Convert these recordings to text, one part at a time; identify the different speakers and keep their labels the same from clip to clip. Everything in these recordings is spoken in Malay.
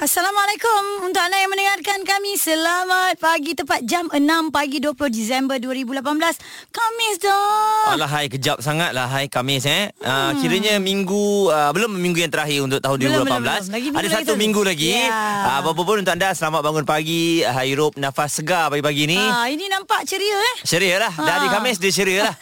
Speaker 1: Assalamualaikum Untuk anda yang mendengarkan kami Selamat pagi Tepat jam 6 pagi 20 Disember 2018 Kamis dah
Speaker 2: Alah hai kejap sangat lah hai Kamis eh. Hmm. Uh, kiranya minggu uh, belum minggu yang terakhir untuk tahun 2018.
Speaker 1: Belum, belum, belum. Lagi minggu
Speaker 2: Ada
Speaker 1: lagi
Speaker 2: satu
Speaker 1: tu.
Speaker 2: minggu lagi.
Speaker 1: Ya.
Speaker 2: Uh, apa-apa pun untuk anda selamat bangun pagi, uh, hirup nafas segar pagi-pagi ni.
Speaker 1: ha, Ini nampak ceria eh
Speaker 2: Ceria lah Dah hari
Speaker 1: Ha.
Speaker 2: Khamis dia ceria lah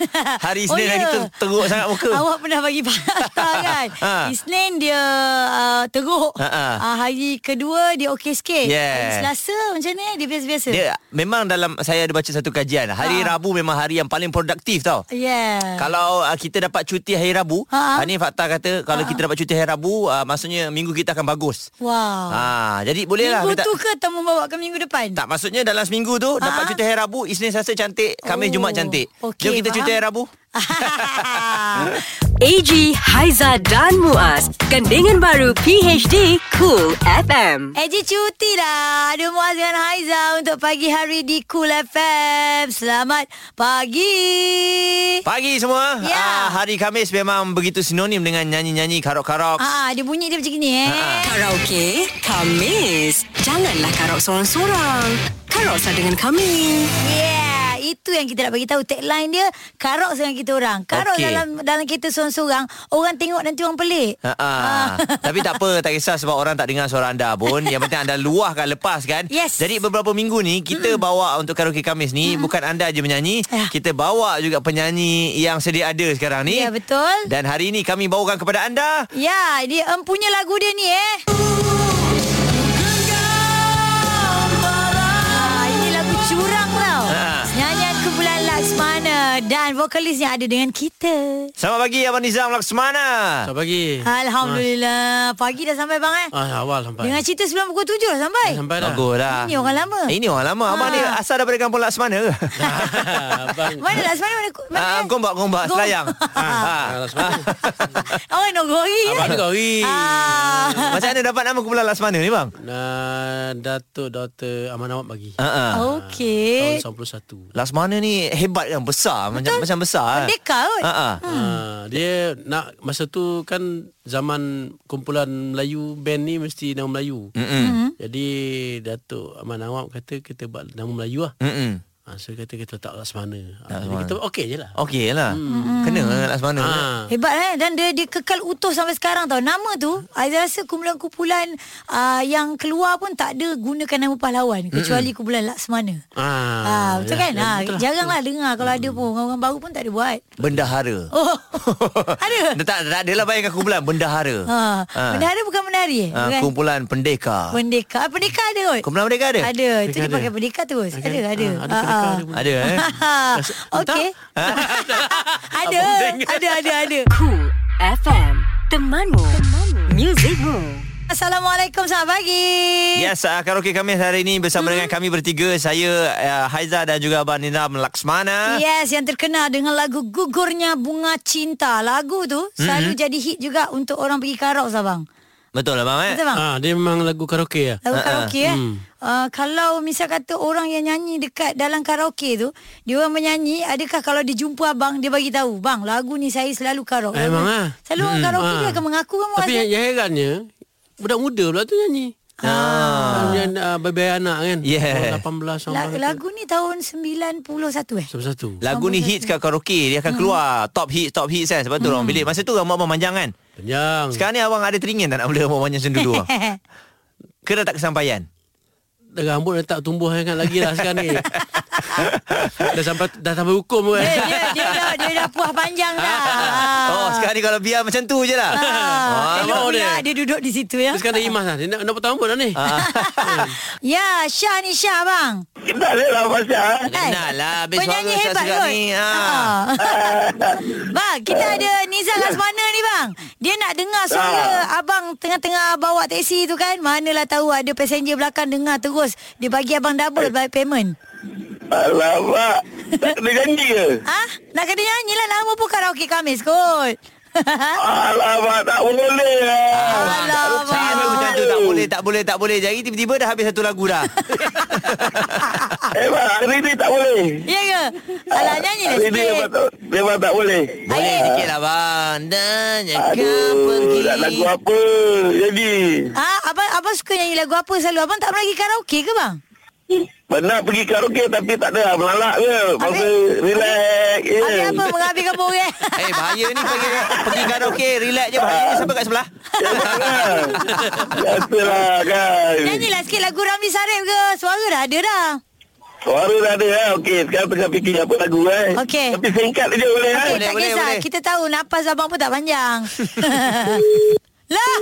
Speaker 2: Hari Isnin oh,
Speaker 1: ya.
Speaker 2: lagi ter- teruk sangat muka
Speaker 1: Awak pernah bagi patah kan
Speaker 2: Ha.
Speaker 1: Isnin dia uh, teruk
Speaker 2: Ha, ha.
Speaker 1: uh, Hari kedua dia okey sikit
Speaker 2: Yes.
Speaker 1: Hari Selasa macam ni Dia biasa-biasa
Speaker 2: Dia memang dalam Saya ada baca satu kajian Hari
Speaker 1: Ha.
Speaker 2: Rabu memang hari yang paling produktif tau
Speaker 1: Yeah
Speaker 2: Kalau uh, kita dapat cuti hari Rabu
Speaker 1: Ya. Ha, ha.
Speaker 2: ha. Ni fakta kata Kalau kita dapat cuti hari Rabu uh, Maksudnya minggu kita akan bagus
Speaker 1: Wow
Speaker 2: ha, Jadi boleh lah
Speaker 1: Minggu
Speaker 2: kita-
Speaker 1: tu ke temu bawa ke minggu depan?
Speaker 2: Tak maksudnya dalam seminggu tu ha? Dapat
Speaker 1: Ha?
Speaker 2: cuti hari Rabu Isnin Selasa cantik Khamis
Speaker 1: Oh,
Speaker 2: oh. Jumaat cantik
Speaker 1: okey,
Speaker 2: Jom kita cuti
Speaker 1: faham. Ah.
Speaker 2: hari Rabu
Speaker 3: AG Haiza dan Muaz, gandingan baru PHD Cool FM.
Speaker 1: Eji cuti lah Ada Muaz dengan Haiza Untuk pagi hari di Cool FM Selamat pagi
Speaker 2: Pagi semua
Speaker 1: Ya.
Speaker 2: Ah, Hari Khamis memang begitu sinonim Dengan nyanyi-nyanyi karok-karok
Speaker 1: Ah, Dia bunyi dia macam ni eh
Speaker 2: Ah.
Speaker 3: Karaoke Kamis. Janganlah karaok seorang-seorang. Karaok sama dengan kami.
Speaker 1: Yeah Itu yang kita nak bagi tahu Tagline dia Karok dengan kita orang Karok okay.
Speaker 2: Okey.
Speaker 1: dalam dalam kita seorang-seorang Orang tengok nanti orang pelik Ah.
Speaker 2: Ha, ha. Tapi tak apa Tak kisah sebab orang tak dengar suara anda pun Yang penting anda luahkan lepas kan
Speaker 1: Yes.
Speaker 2: Jadi beberapa minggu ni Kita mm bawa untuk karaoke Kamis ni mm Bukan anda je menyanyi
Speaker 1: Ya.
Speaker 2: Kita bawa juga penyanyi Yang sedia ada sekarang ni
Speaker 1: Ya, betul.
Speaker 2: Dan hari ni kami bawakan kepada anda
Speaker 1: Ya, dia empunya lagu dia ni eh. Ah, ini lagu curang tau.
Speaker 2: Ah.
Speaker 1: Nyanyian kumpulan Laksmana dan vokalisnya ada dengan kita.
Speaker 2: Selamat pagi Abang Nizam Laksmana
Speaker 4: Selamat pagi.
Speaker 1: Alhamdulillah. Pagi dah sampai bang eh.
Speaker 4: Eh, Ah, awal sampai.
Speaker 1: Dengan cerita sebelum pukul 7 dah sampai.
Speaker 4: sampai dah.
Speaker 2: Bagus lah
Speaker 1: Ini orang lama.
Speaker 2: Eh, Ini orang lama Abang
Speaker 1: Ha.
Speaker 2: ni asal daripada kampung Laksmana ke?
Speaker 4: Abang.
Speaker 1: Mana Laksmana mana? mana
Speaker 2: Ah, gombak gombak
Speaker 1: eh? Gom-
Speaker 2: Selayang.
Speaker 4: Ah,
Speaker 2: Ha.
Speaker 4: Laksmana.
Speaker 1: Orang Nogori
Speaker 4: Abang
Speaker 1: kan?
Speaker 4: ni kori.
Speaker 1: Ah.
Speaker 2: Macam mana dapat nama kumpulan Laksmana ni bang?
Speaker 4: Nah, Datuk Dr. Aman Awad bagi.
Speaker 2: Ha ah.
Speaker 1: Oh. Okey.
Speaker 4: Tahun 91.
Speaker 2: Laksmana ni hebat kan besar macam macam besar.
Speaker 1: Merdeka kot.
Speaker 2: Ha ah.
Speaker 4: Ah, dia nak masa tu kan zaman kumpulan Melayu band ni mesti nama Melayu.
Speaker 1: Hmm.
Speaker 2: Mm-mm.
Speaker 4: Jadi Datuk Aman Awad kata kita buat nama Melayu lah.
Speaker 2: Mm-mm.
Speaker 4: Ah, so dia kata kita letak Laksmana. Ah, jadi kita okey je lah.
Speaker 2: Okey lah.
Speaker 1: Hmm.
Speaker 2: Kena dengan Laksmana.
Speaker 4: Ah.
Speaker 1: Hebat eh dan dia dia kekal utuh sampai sekarang tau. Nama tu Aiza rasa kumpulan-kumpulan uh, yang keluar pun tak ada gunakan nama pahlawan kecuali kumpulan Laksmana.
Speaker 4: Ah,
Speaker 1: Ah, betul
Speaker 4: ya,
Speaker 1: kan?
Speaker 4: ya,
Speaker 1: Ah,
Speaker 4: betul lah.
Speaker 1: jaranglah dengar kalau ada pun orang-orang baru pun tak ada buat.
Speaker 2: Bendahara.
Speaker 1: Oh. ada.
Speaker 2: Dia tak, tak adalah bayangkan kumpulan bendahara.
Speaker 1: Ha.
Speaker 4: Ah.
Speaker 1: Bendahara bukan menari eh?
Speaker 2: Ah,
Speaker 1: bukan.
Speaker 2: kumpulan pendekar.
Speaker 1: Pendekar. Ah, Pendekar ada kot.
Speaker 2: Kumpulan pendekar ada?
Speaker 1: Ada. Itu
Speaker 4: eh, Pendekar
Speaker 1: dia
Speaker 4: ada.
Speaker 1: pakai pendekar terus.
Speaker 4: Ada,
Speaker 1: Ada ada.
Speaker 4: ah, ada pendekar ada pun.
Speaker 2: Ada eh.
Speaker 1: Okey. ada. Ada ada ada.
Speaker 3: Cool FM. Temanmu. Temanmu. Muzikmu.
Speaker 1: Assalamualaikum selamat pagi.
Speaker 4: Ya,
Speaker 2: Yes, uh, karaoke kami hari ini bersama
Speaker 1: Hmm.
Speaker 2: dengan kami bertiga. Saya, uh, Haiza dan juga Abang Nizam
Speaker 4: Ah.
Speaker 2: Laksmana.
Speaker 1: Yes, yang terkenal dengan lagu Gugurnya Bunga Cinta. Lagu tu selalu jadi hit juga untuk orang pergi karaoke Sabang.
Speaker 2: Betul lah bang eh?
Speaker 1: Betul bang?
Speaker 4: Ah, dia memang lagu karaoke lah.
Speaker 1: Lagu karaoke eh. Uh, kalau misal kata orang yang nyanyi dekat dalam karaoke tu, dia orang menyanyi, adakah kalau dia jumpa abang dia bagi tahu, bang, lagu ni saya selalu karaoke.
Speaker 4: Eh, memang ah.
Speaker 1: Selalu orang karaoke
Speaker 4: Ah.
Speaker 1: dia akan mengaku kan
Speaker 4: Tapi
Speaker 1: Muaz,
Speaker 4: yang,
Speaker 1: eh?
Speaker 4: yang herannya Budak muda pula tu nyanyi Ah. Yang uh, baby anak kan
Speaker 2: Yeah.
Speaker 4: Orang 18 orang
Speaker 1: La- lagu ni tahun 91 eh.
Speaker 4: Sama satu
Speaker 2: Lagu ni hits kat karaoke Dia akan
Speaker 1: Hmm.
Speaker 2: keluar Top hits Top hits kan Sebab tu orang pilih Masa tu rambut abang panjang kan
Speaker 1: Hmm.
Speaker 4: Panjang Sekarang
Speaker 2: Sekarang ni abang ada teringin Tak nak mula rambut panjang macam dulu abang? Ke dah tak kesampaian
Speaker 4: Rambut dah tak tumbuh sangat lagi lah sekarang ni Dah sampai Dah sampai hukum
Speaker 1: dia,
Speaker 4: kan
Speaker 1: dia, dia, dah, dia dah puas panjang dah.
Speaker 2: Oh sekarang ni kalau biar macam tu je lah
Speaker 1: Ah,
Speaker 2: Ah,
Speaker 1: elok
Speaker 4: abang
Speaker 1: pula
Speaker 4: dia.
Speaker 1: dia duduk di situ ya.
Speaker 4: Terus Sekarang dah imas lah Dia nak, nak potong rambut dah ni
Speaker 1: Ya, Syah ni Syah bang.
Speaker 5: Kenal dia lah Fasya
Speaker 2: Kenal lah Habis
Speaker 1: Kan? Penyanyi
Speaker 2: suara
Speaker 1: hebat
Speaker 2: serak-serak
Speaker 1: kot.
Speaker 2: ni
Speaker 1: Ha.
Speaker 2: ah.
Speaker 1: bang, kita ada Nizam Lasmana ni bang. Dia nak dengar suara abang tengah-tengah bawa teksi tu kan. Manalah tahu ada passenger belakang dengar terus. Dia bagi abang double by payment.
Speaker 5: Alamak Tak kena janji ke
Speaker 1: Ah, ha? Nak kena nyanyi lah nama pun karaoke Kamis kot.
Speaker 5: Alamak, tak boleh. lah.
Speaker 1: Alamak.
Speaker 2: Saya memang macam tu Tak boleh tak boleh tak boleh Jadi tiba-tiba dah habis satu lagu dah
Speaker 5: Memang Eh, hari ni tak boleh.
Speaker 1: Ya ke? Alah nyanyi lah
Speaker 5: Hari ni memang
Speaker 1: sikit.
Speaker 5: tak, memang tak boleh.
Speaker 2: Boleh sikit lah bang Dan yang kau
Speaker 5: Aduh,
Speaker 2: pergi
Speaker 5: nak lagu apa jadi?
Speaker 1: Ah, abang, abang suka nyanyi lagu apa selalu? Abang tak pernah pergi karaoke ke bang?
Speaker 5: Pernah pergi karaoke tapi tak ada melalak je. Masa relax.
Speaker 1: Yeah.
Speaker 4: Eh.
Speaker 5: Ya.
Speaker 1: Habis apa menghabiskan orang?
Speaker 2: Eh bahaya ni pergi, pergi karaoke Relax je bahaya ni Siapa kat sebelah
Speaker 5: Ya. Biasalah kan.
Speaker 1: Nyanyilah sikit lagu Ramli Sarip ke? Suara dah ada dah.
Speaker 5: Suara dah ada lah. Okey, sekarang tengah fikir apa lagu eh.
Speaker 1: Okey.
Speaker 5: Tapi singkat je boleh eh. okay.
Speaker 2: boleh,
Speaker 1: Okey, tak
Speaker 2: boleh,
Speaker 1: kisah.
Speaker 2: boleh.
Speaker 1: Kita tahu napas abang pun tak panjang. lah.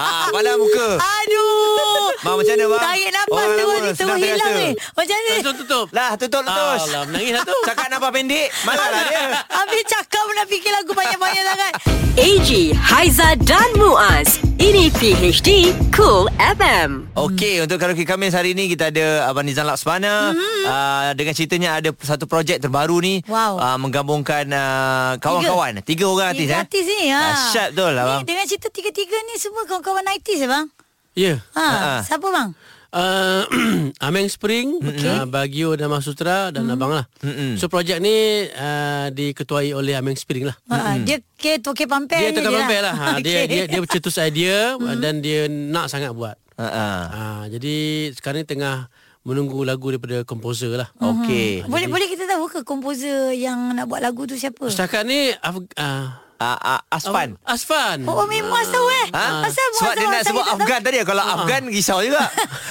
Speaker 2: Ha pala muka
Speaker 1: Aduh.
Speaker 2: Bang macam mana bang
Speaker 1: Tarik napas
Speaker 2: Orang
Speaker 1: terus
Speaker 2: lama
Speaker 1: ni terus
Speaker 2: senang
Speaker 1: hilang
Speaker 2: terasa.
Speaker 1: ni. Macam ni.
Speaker 4: Tutup tutup.
Speaker 2: Lah tutup letus
Speaker 4: Alah, menangis lah tu.
Speaker 2: Cakap nampak pendek Malah lah dia
Speaker 1: Habis cakap pun nak fikir lagu banyak-banyak sangat.
Speaker 3: AG, Haiza dan Muaz. Ini PHD Cool FM.
Speaker 2: Okey, untuk karaoke Kamis hari ni kita ada Abang Nizam Laksmana mm. uh, dengan ceritanya ada satu projek terbaru ni
Speaker 1: Mhm. Wow.
Speaker 2: uh, menggabungkan uh, kawan-kawan. Tiga. orang artis
Speaker 1: Tiga
Speaker 2: eh.
Speaker 1: artis ni. Ha.
Speaker 2: Ah, syat betul lah bang.
Speaker 1: Ni, dengan cerita tiga-tiga ni semua kawan-kawan 90s ya bang?
Speaker 4: Ya.
Speaker 1: Ha,
Speaker 2: Ha, ha.
Speaker 1: siapa bang?
Speaker 4: Uh, Ameng Spring, okay. uh, Bagio dan Mahasutra dan Abang lah.
Speaker 2: Mm-mm.
Speaker 4: So projek ni uh, diketuai oleh Ameng Spring lah.
Speaker 1: Ha,
Speaker 2: Hmm.
Speaker 1: Dia ke toke pampel
Speaker 4: Dia
Speaker 1: je Eh,
Speaker 4: tukar
Speaker 1: dia
Speaker 4: pampel lah. Ha,
Speaker 1: Okey.
Speaker 4: dia, dia, dia bercetus idea uh, dan dia nak sangat buat.
Speaker 2: Ha ah.
Speaker 4: Ha, jadi sekarang ni tengah menunggu lagu daripada komposer lah.
Speaker 1: Mm.
Speaker 2: Okey.
Speaker 1: Boleh boleh kita tahu ke komposer yang nak buat lagu tu siapa?
Speaker 4: Setakat ni Af- uh,
Speaker 2: Ah, ah, Aspan.
Speaker 4: Asfan.
Speaker 1: Mhm. Oh, oh memang Muaz tahu eh.
Speaker 2: Ha?
Speaker 1: Pasal Muaz
Speaker 2: Sebab dia
Speaker 1: tahu,
Speaker 2: nak
Speaker 1: saya
Speaker 2: sebut
Speaker 1: tak tahu.
Speaker 2: Afgan tadi Kalau
Speaker 4: Ah.
Speaker 2: Afgan risau juga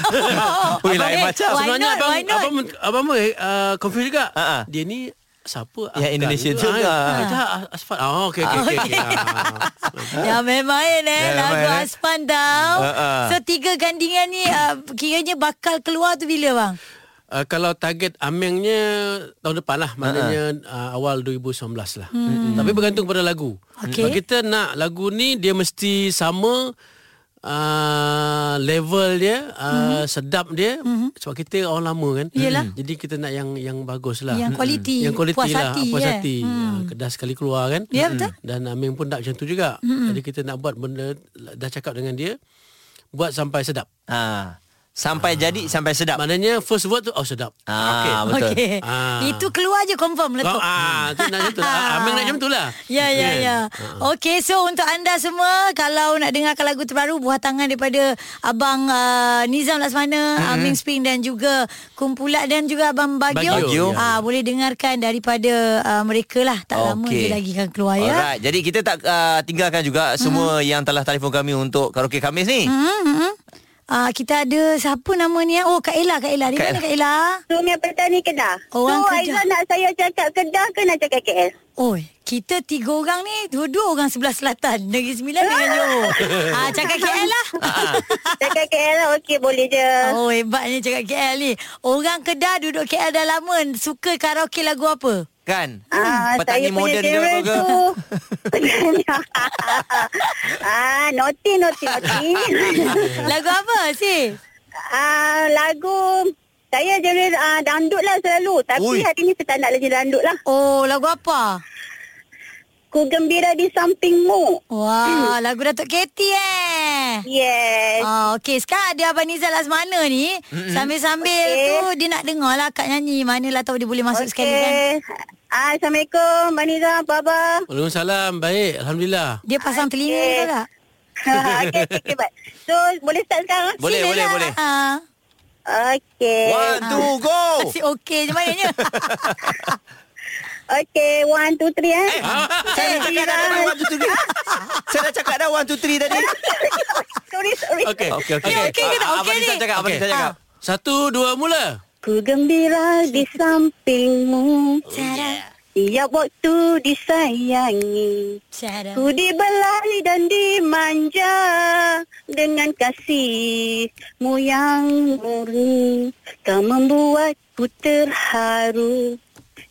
Speaker 2: Ui
Speaker 1: Abang,
Speaker 2: lain
Speaker 1: eh,
Speaker 2: macam
Speaker 1: why
Speaker 4: Sebenarnya
Speaker 1: not,
Speaker 4: abang,
Speaker 1: why not?
Speaker 4: abang abang abang uh, confused juga.
Speaker 2: Ha, ha.
Speaker 4: Dia ni siapa? Ah,
Speaker 2: Ya, Indonesian juga.
Speaker 4: Ha. Asfan. Oh, okey
Speaker 1: Ah,
Speaker 4: okey okey. okey. Ha.
Speaker 1: Yang main main eh
Speaker 2: Yang
Speaker 1: Lagu
Speaker 2: main-main, eh.
Speaker 1: Aspan tau
Speaker 2: Ha, ha.
Speaker 1: So tiga gandingan ni uh, Kiranya bakal keluar tu bila bang?
Speaker 4: Uh, kalau target amengnya tahun depan lah Maknanya uh, awal 2019 lah hmm. Tapi bergantung pada lagu
Speaker 1: Okey.
Speaker 4: Kalau kita nak lagu ni dia mesti sama uh, Level dia uh, Sedap dia Sebab kita orang lama kan
Speaker 1: Hmm. Yelah.
Speaker 4: Jadi kita nak yang yang bagus lah
Speaker 1: Yang kualiti,
Speaker 4: Yang kualiti
Speaker 1: puas
Speaker 4: lah
Speaker 1: hati,
Speaker 4: Puas
Speaker 1: eh.
Speaker 4: hati hmm. uh, Dah sekali keluar kan
Speaker 1: Ya, betul. Hmm.
Speaker 4: Dan Ameng pun nak macam tu juga Jadi kita nak buat benda Dah cakap dengan dia Buat sampai sedap
Speaker 2: ha. Sampai
Speaker 4: Ah.
Speaker 2: jadi Sampai sedap
Speaker 4: Maknanya first word tu Oh sedap
Speaker 2: Ah,
Speaker 4: Okey.
Speaker 2: Betul.
Speaker 1: Okey.
Speaker 4: Ah.
Speaker 1: Itu keluar je confirm letup
Speaker 4: Kau, ah, tu nak macam tu lah. Ah, Amang nak macam tu lah.
Speaker 1: Ya, ya,
Speaker 4: Kan?
Speaker 1: ya.
Speaker 2: Ha,
Speaker 1: Okey, so untuk anda semua, kalau nak dengarkan lagu terbaru, buah tangan daripada Abang uh, Nizam Laksmana, mm-hmm. Aming Spring dan juga Kumpulat dan juga Abang Bagio.
Speaker 4: Bagio,
Speaker 2: ya.
Speaker 1: Ah, Boleh dengarkan daripada uh, mereka lah. Tak okay. lama
Speaker 2: Okey.
Speaker 1: je lagi akan keluar ya. Mm-hmm.
Speaker 2: Alright Jadi kita tak uh, tinggalkan juga Semua yang telah telefon kami Untuk karaoke Kamis ni
Speaker 1: Hmm, hmm. Ah, kita ada siapa nama ni? Oh, Kak Ella, Kak Ella. Di
Speaker 2: Kak
Speaker 1: mana
Speaker 2: Ella.
Speaker 1: Kak Ella?
Speaker 6: Sungai Petani Kedah.
Speaker 1: Orang
Speaker 6: so,
Speaker 1: Kedah.
Speaker 6: Aizah nak saya cakap Kedah ke nak cakap KL?
Speaker 1: Oi, Oh, kita tiga orang ni, dua-dua orang sebelah selatan. Negeri Sembilan dengan Johor. ah, cakap KL lah.
Speaker 6: Ah. cakap KL lah, okey boleh je.
Speaker 1: Oh, hebatnya cakap KL ni. Orang Kedah duduk KL dah lama. Suka karaoke lagu apa?
Speaker 2: Kan
Speaker 1: Hmm.
Speaker 6: Ah,
Speaker 2: Petani
Speaker 6: saya
Speaker 2: moden
Speaker 6: punya
Speaker 2: ke apa
Speaker 6: genre
Speaker 2: ke?
Speaker 6: tu. ah, noti, noti, noti.
Speaker 1: Lagu apa, si?
Speaker 6: ah, lagu saya genre ah, dandut lah selalu.
Speaker 2: Ui.
Speaker 6: Tapi hari ni saya tak nak lagi dandut lah.
Speaker 1: Oh, lagu apa?
Speaker 6: Ku gembira di sampingmu.
Speaker 1: Wah, lagu Datuk Katy eh.
Speaker 6: Hmm. Yes.
Speaker 1: Ah, okey, sekarang ada Abang Nizal Azmana ni. Sambil-sambil
Speaker 6: Okey.
Speaker 1: tu dia nak dengar lah Kak nyanyi. Manalah tahu dia boleh masuk sekali kan.
Speaker 6: Okey. Ah, Assalamualaikum, Maniza, Baba.
Speaker 4: Waalaikumsalam. Baik. Alhamdulillah.
Speaker 1: Dia pasang telinga
Speaker 6: Okey.
Speaker 1: okay. tak?
Speaker 6: okay, okay, okay, baik. So, boleh start sekarang?
Speaker 2: Boleh,
Speaker 1: Silalah.
Speaker 2: boleh, boleh.
Speaker 1: Ah,
Speaker 6: Okay.
Speaker 2: One, two, go
Speaker 1: Asyik okey je maknanya.
Speaker 6: Okay, one, two, three, eh.
Speaker 2: Eh, Saya dah cakap
Speaker 1: lah?
Speaker 2: dah tadi One, two, three Saya dah cakap dah One, two, three tadi
Speaker 6: sorry, sorry.
Speaker 4: Okey.
Speaker 2: Okey, okey
Speaker 1: Okey, okey ke tak?
Speaker 2: Ah,
Speaker 1: Okey Ah.
Speaker 2: Abang Nizam
Speaker 1: ni?
Speaker 2: cakap Abang
Speaker 4: Okey.
Speaker 2: Nizam cakap
Speaker 4: Satu, dua, mula.
Speaker 6: Ku gembira di sampingmu.
Speaker 2: Oh,
Speaker 1: Cara,
Speaker 6: Tiap waktu disayangi.
Speaker 1: cara.
Speaker 6: Ku dibelai dan dimanja dengan kasihmu yang murni. Kau membuatku terharu.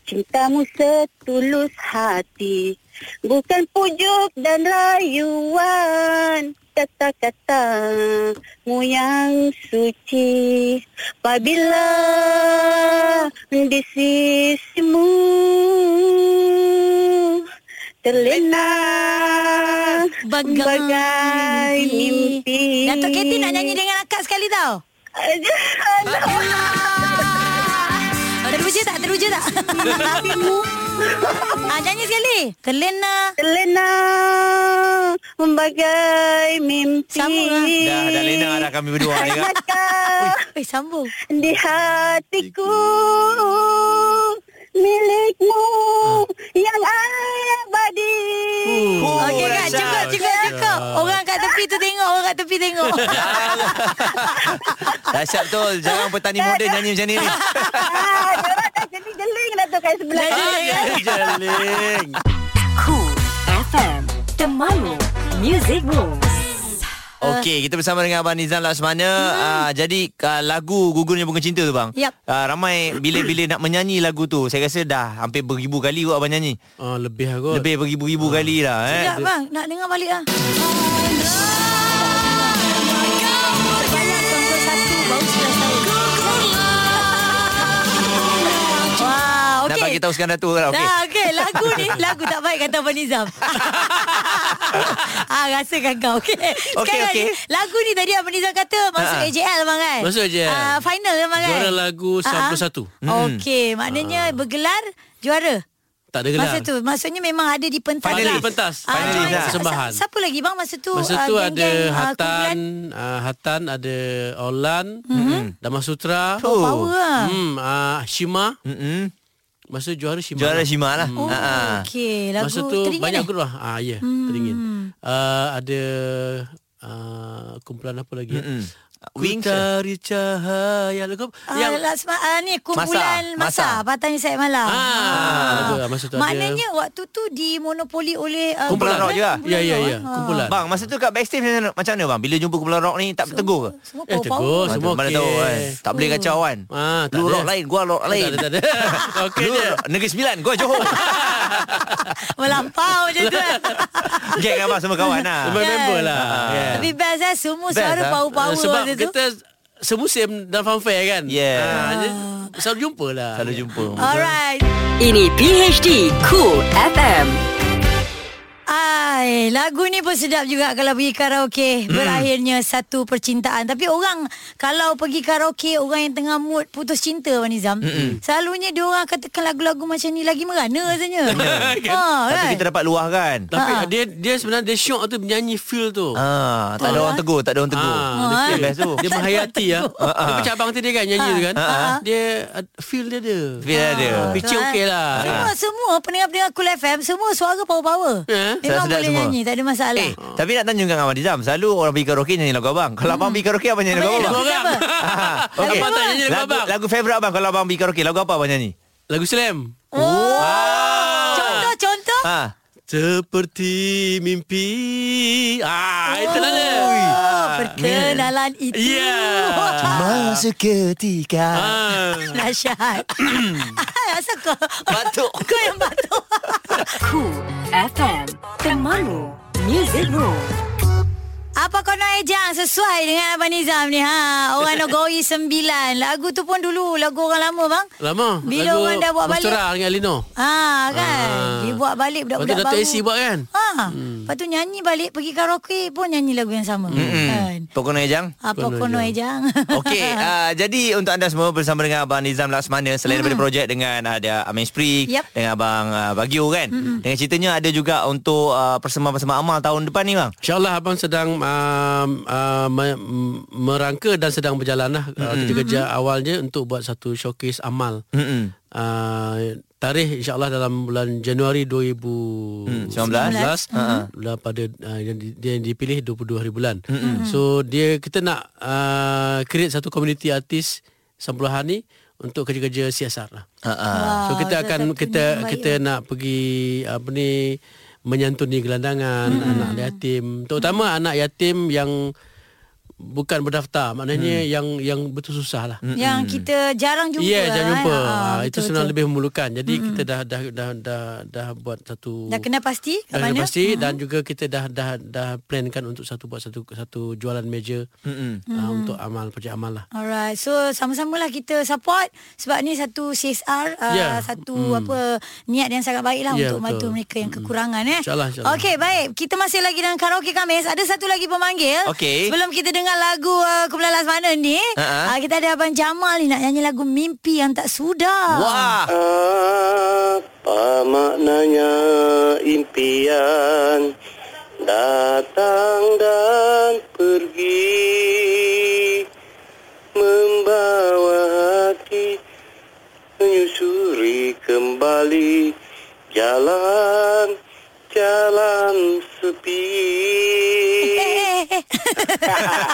Speaker 6: Cintamu setulus hati. Bukan pujuk dan rayuan. Kata-katamu yang suci. Apabila di sisimu. Terlena
Speaker 1: Bagai,
Speaker 6: Bagai mimpi.
Speaker 1: Datuk Katie nak nyanyi dengan akak sekali tau Ah, Teruja tak? Teruja tak? ah, nyanyi sekali Kelena
Speaker 6: Lena Membagai mimpi
Speaker 1: Sama lah.
Speaker 2: Dah, dah lena dah kami berdua ni kan.
Speaker 6: Mata
Speaker 1: Eh sambung
Speaker 6: di hatiku milikmu
Speaker 2: Ah.
Speaker 6: yang abadi.
Speaker 2: Oh,
Speaker 1: Okey kan
Speaker 2: Razak.
Speaker 1: cukup cukup cukup Orang kat tepi tu tengok Orang kat tepi tengok
Speaker 2: Dahsyat betul. Jangan petani muda nyanyi macam ni.
Speaker 6: Ah, Diorang dah jeling-jeling dah tu kat sebelah.
Speaker 4: Jeling.
Speaker 3: Cool FM Temanmu Music Moves
Speaker 1: Ah.
Speaker 2: Okey, kita bersama dengan Abang Nizam Laksmana. Hmm. Uh, jadi uh, lagu Gugurnya Bunga Cinta tu bang.
Speaker 1: Yap.
Speaker 2: Uh, ramai bila-bila nak menyanyi lagu tu, saya rasa dah hampir beribu kali kot abang nyanyi.
Speaker 4: Ah, lebih aku.
Speaker 2: Lebih
Speaker 4: Hmm.
Speaker 2: beribu-ribu kali lah eh.
Speaker 1: Sekejap bang Nak dengar balik lah Terbanyak tuan-tuan satu, baru sebelas tahun. lah. Wow,
Speaker 2: Nak
Speaker 1: okey.
Speaker 2: bagi tahu sekarang Datuk lah. Okey.
Speaker 1: Dah okey lagu ni lagu tak baik kata Abang Nizam. ah rasakan kau okey. Sekarang
Speaker 2: okey.
Speaker 1: ni, lagu ni tadi Abang Nizam kata masuk
Speaker 2: Ha-ha.
Speaker 1: AJL bang kan.
Speaker 4: Masuk AJL.
Speaker 1: Ah final bang kan.
Speaker 4: Juara lagu Hmm.
Speaker 1: Ah, ah.
Speaker 4: 91.
Speaker 1: Okey maknanya bergelar juara.
Speaker 4: Tak ada Ah. gelar.
Speaker 1: Masa tu maksudnya memang ada di pentas.
Speaker 2: Finalist.
Speaker 1: lah.
Speaker 4: Pentas.
Speaker 1: Ah,
Speaker 2: Finalist
Speaker 1: join-
Speaker 2: lah.
Speaker 1: sa-
Speaker 4: Persembahan.
Speaker 1: sa- Siapa lagi bang masa tu?
Speaker 4: Masa
Speaker 1: ah,
Speaker 4: tu ada
Speaker 1: geng-geng, ah, kumpulan?
Speaker 4: Hatan, uh, Hatan ada Olan, mm-hmm. Damasutra.
Speaker 1: Oh, power lah.
Speaker 4: Hmm, uh, Shima.
Speaker 2: Mm-mm.
Speaker 4: Masa juara Shima.
Speaker 2: Juara Shima lah.
Speaker 1: Oh,
Speaker 2: Ha, ha.
Speaker 1: okey. Lagu
Speaker 4: Masa tu
Speaker 1: teringin
Speaker 4: banyak
Speaker 1: eh?
Speaker 4: grup lah. Ah, ya, yeah, hmm. teringin. Uh, ada uh, kumpulan apa lagi?
Speaker 2: Mm-mm.
Speaker 4: Mm-mm.
Speaker 2: Wings,
Speaker 4: Ku eh? cari cahaya lagu apa?
Speaker 1: Ah,
Speaker 4: yang
Speaker 1: Lasma, ah, ni kumpulan
Speaker 2: Masa.
Speaker 1: masa, masa. Patang Isai Malam.
Speaker 4: Ah, betul lah. Masa tu ada-
Speaker 1: Maknanya waktu tu dimonopoli oleh uh,
Speaker 2: Kumpulan rock je lah.
Speaker 4: Ya, ya, ya.
Speaker 1: Ah.
Speaker 4: Kumpulan.
Speaker 2: Bang, masa tu kat backstage macam mana, macam mana bang? Bila jumpa kumpulan rock ni tak bertegur ke?
Speaker 1: Semua
Speaker 4: Eh,
Speaker 1: power-power.
Speaker 4: tegur. Oh,
Speaker 2: Mana-
Speaker 4: semua
Speaker 2: mana
Speaker 4: okey.
Speaker 2: tahu kan. Tak boleh kacau kan.
Speaker 4: Ah, tak
Speaker 2: Lu
Speaker 4: ada.
Speaker 2: rock lain, gua rock
Speaker 4: Tak
Speaker 2: lain.
Speaker 4: ada, tak ada. Okey
Speaker 2: Lu
Speaker 4: je.
Speaker 2: rock negeri sembilan, gua Johor.
Speaker 1: Melampau macam tu
Speaker 4: Ya.
Speaker 1: kan.
Speaker 2: Geng abang semua kawan lah.
Speaker 4: Semua member lah. Yeah.
Speaker 1: Tapi best lah semua
Speaker 2: Best
Speaker 1: suara
Speaker 2: lah.
Speaker 4: Ah,
Speaker 1: power-power
Speaker 4: Sebab
Speaker 1: waktu tu.
Speaker 4: kita semusim dalam fanfare kan.
Speaker 2: Yeah.
Speaker 4: Ah, jadi selalu jumpa lah.
Speaker 2: Selalu jumpa.
Speaker 1: Alright.
Speaker 3: Ini PHD Cool FM
Speaker 1: Ai, lagu ni pun sedap juga kalau pergi karaoke.
Speaker 4: Hmm.
Speaker 1: Berakhirnya satu percintaan. Tapi orang kalau pergi karaoke, orang yang tengah mood putus cinta Wan Nizam.
Speaker 4: Hmm.
Speaker 1: Selalunya dia orang katakan lagu-lagu macam ni lagi merana rasanya. ha,
Speaker 2: Tapi kita dapat luah kan.
Speaker 4: Tapi
Speaker 1: Ha.
Speaker 4: dia dia sebenarnya dia syok tu menyanyi feel tu.
Speaker 2: Ah, tak ada orang tegur, tak ada orang tegur.
Speaker 4: Ah,
Speaker 2: Itu
Speaker 4: dia,
Speaker 1: eh.
Speaker 2: yang best tu.
Speaker 4: dia menghayati ya. Dia macam abang tadi kan nyanyi tu kan.
Speaker 1: Ah.
Speaker 4: Dia uh, feel dia ada.
Speaker 2: Feel dia ada.
Speaker 4: Picture
Speaker 1: Betul,
Speaker 4: okey
Speaker 1: eh?
Speaker 4: lah.
Speaker 1: Semua semua pendengar-pendengar Cool FM semua suara power-power.
Speaker 4: Eh?
Speaker 1: Memang
Speaker 2: Sedap-sedap
Speaker 1: boleh
Speaker 2: semua.
Speaker 1: nyanyi, tak ada masalah.
Speaker 2: Eh, tapi nak tanya dengan Abang Dizam, selalu orang pergi karaoke nyanyi lagu abang. Kalau abang pergi karaoke abang nyanyi lagu
Speaker 1: Abang
Speaker 2: abang.
Speaker 1: nyanyi
Speaker 4: Korang.
Speaker 1: Lagu
Speaker 2: Ah,
Speaker 4: Abang
Speaker 2: okey.
Speaker 4: tak nyanyi lagu
Speaker 2: Lagu
Speaker 4: abang.
Speaker 2: lagu favorite abang kalau abang pergi karaoke, lagu apa abang nyanyi?
Speaker 4: Lagu slam.
Speaker 1: Oh. Contoh contoh.
Speaker 2: Ha.
Speaker 4: Ah, Seperti mimpi. Ah, itu lah dia.
Speaker 1: Oh, perkenalan itu.
Speaker 4: Ya. Yeah.
Speaker 2: Masa ketika
Speaker 4: Ah.
Speaker 1: Dahsyat Asal kau
Speaker 2: Batuk.
Speaker 1: Kau yang batuk
Speaker 3: Cool FM Temanmu Music Moves
Speaker 1: Apa kau nak ejang Sesuai dengan Abang Nizam ni ha? Orang Nogoi 9 Lagu tu pun dulu Lagu orang lama bang
Speaker 4: Lama.
Speaker 1: Bila
Speaker 4: lagu
Speaker 1: orang dah buat balik
Speaker 4: Mastera dengan Lino.
Speaker 1: Ha kan
Speaker 4: Ah.
Speaker 1: Dia buat balik
Speaker 4: Lepas tu
Speaker 1: budak-budak
Speaker 4: Dato'
Speaker 1: baru
Speaker 4: AC buat kan.
Speaker 1: Ha Lepas tu nyanyi balik Pergi karaoke pun nyanyi lagu yang sama kan?
Speaker 2: Hmm. Pokok Noe Jang.
Speaker 1: Apa kau nak ejang
Speaker 2: Okey, uh, jadi untuk anda semua bersama dengan Abang Nizam Laksmana selain daripada projek dengan ada Amin Spree
Speaker 1: Yap.
Speaker 2: dengan Abang uh, Bagio kan. Dengan ceritanya ada juga untuk uh, persembahan-persembahan amal tahun depan ni bang.
Speaker 4: InsyaAllah abang sedang um, uh, me- m- merangka dan sedang berjalan lah uh, kerja-kerja awalnya untuk buat satu showcase amal.
Speaker 2: Mm-mm.
Speaker 4: Uh, tarikh insyaAllah dalam bulan Januari
Speaker 2: Mm-mm.
Speaker 4: 2019 uh, pada uh, yang, di, yang dipilih 22 hari bulan. Mm-hmm. So dia kita nak uh, create satu community artis Sampuluhan ni untuk kerja-kerja siasat lah.
Speaker 2: Uh-uh.
Speaker 4: So
Speaker 1: Wah,
Speaker 4: kita
Speaker 1: salah
Speaker 4: akan
Speaker 1: satu
Speaker 4: kita
Speaker 1: ni yang
Speaker 4: kita nak pergi apa ni menyantuni gelandangan anak yatim, terutama anak yatim yang bukan berdaftar
Speaker 1: Mm.
Speaker 4: maknanya hmm. yang yang betul susah lah.
Speaker 1: Mm-mm. Yang kita jarang Mm. jumpa.
Speaker 4: Ya, yeah, jangan lupa.
Speaker 1: eh.
Speaker 4: Ha,
Speaker 1: Ah,
Speaker 4: itu
Speaker 1: betul,
Speaker 4: senang
Speaker 1: betul.
Speaker 4: lebih memerlukan. Jadi mm kita dah dah dah dah dah buat satu
Speaker 1: Dah kenal pasti kat
Speaker 4: Dah kena
Speaker 1: mana?
Speaker 4: pasti dan juga kita dah dah dah plankan untuk satu buat satu satu jualan meja
Speaker 2: Mm-mm.
Speaker 4: uh, untuk amal projek amal lah.
Speaker 1: Alright, so sama-samalah kita support sebab ni satu CSR, uh,
Speaker 4: Ya.
Speaker 1: yeah. satu hmm. apa niat yang sangat baik lah yeah,
Speaker 4: Ya,
Speaker 1: untuk bantu
Speaker 4: betul.
Speaker 1: mereka yang kekurangan eh.
Speaker 4: InsyaAllah, insyaAllah.
Speaker 1: Okey, baik. Kita masih lagi dalam karaoke Kamis. Ada satu lagi pemanggil.
Speaker 2: Okey.
Speaker 1: Sebelum kita dengar lagu uh, Kumpulan Lasmana ni,
Speaker 2: Ha-ha.
Speaker 1: uh, kita ada Abang Jamal ni nak nyanyi lagu Mimpi Yang Tak Sudah.
Speaker 2: ah. Wah.
Speaker 7: Apa maknanya impian datang dan pergi membawa hati menyusuri kembali jalan jalan sepi.
Speaker 1: Eh, eh, eh.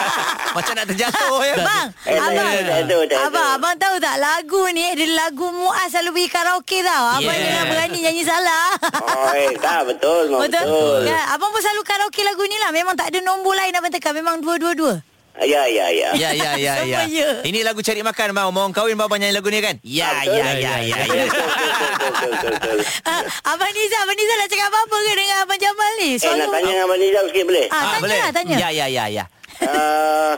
Speaker 2: Macam nak terjatuh ya.
Speaker 1: Abang,
Speaker 7: Eh, dah,
Speaker 1: abang,
Speaker 7: dah, dah, dah, dah.
Speaker 1: abang, abang tahu tak lagu ni adalah lagu Muaz selalu pergi karaoke tau. Abang
Speaker 2: Yeah.
Speaker 1: jangan berani nyanyi salah.
Speaker 7: Oh, eh, dah betul, memang
Speaker 1: Betul.
Speaker 7: betul.
Speaker 1: Ya, abang pun selalu karaoke lagu ni lah. Memang tak ada nombor lain abang tekan. Memang dua-dua-dua.
Speaker 7: Ya, ya, ya.
Speaker 2: Ya ya ya ya.
Speaker 1: Sama je.
Speaker 2: Ini lagu cari makan bang. Mau kahwin bang nyanyi lagu ni kan? Ya
Speaker 7: Betul.
Speaker 2: ya ya ya. ya.
Speaker 7: Eh, Betul, betul, betul, betul, betul.
Speaker 1: Ah, abang Niza, abang Niza nak cakap apa-apa ke dengan abang Jamal ni?
Speaker 7: Eh, nak tanya dengan Abang Nizam sikit boleh?
Speaker 1: Ah, tanya
Speaker 2: boleh?
Speaker 1: lah, tanya.
Speaker 2: Ya ya ya ya.
Speaker 7: Ah,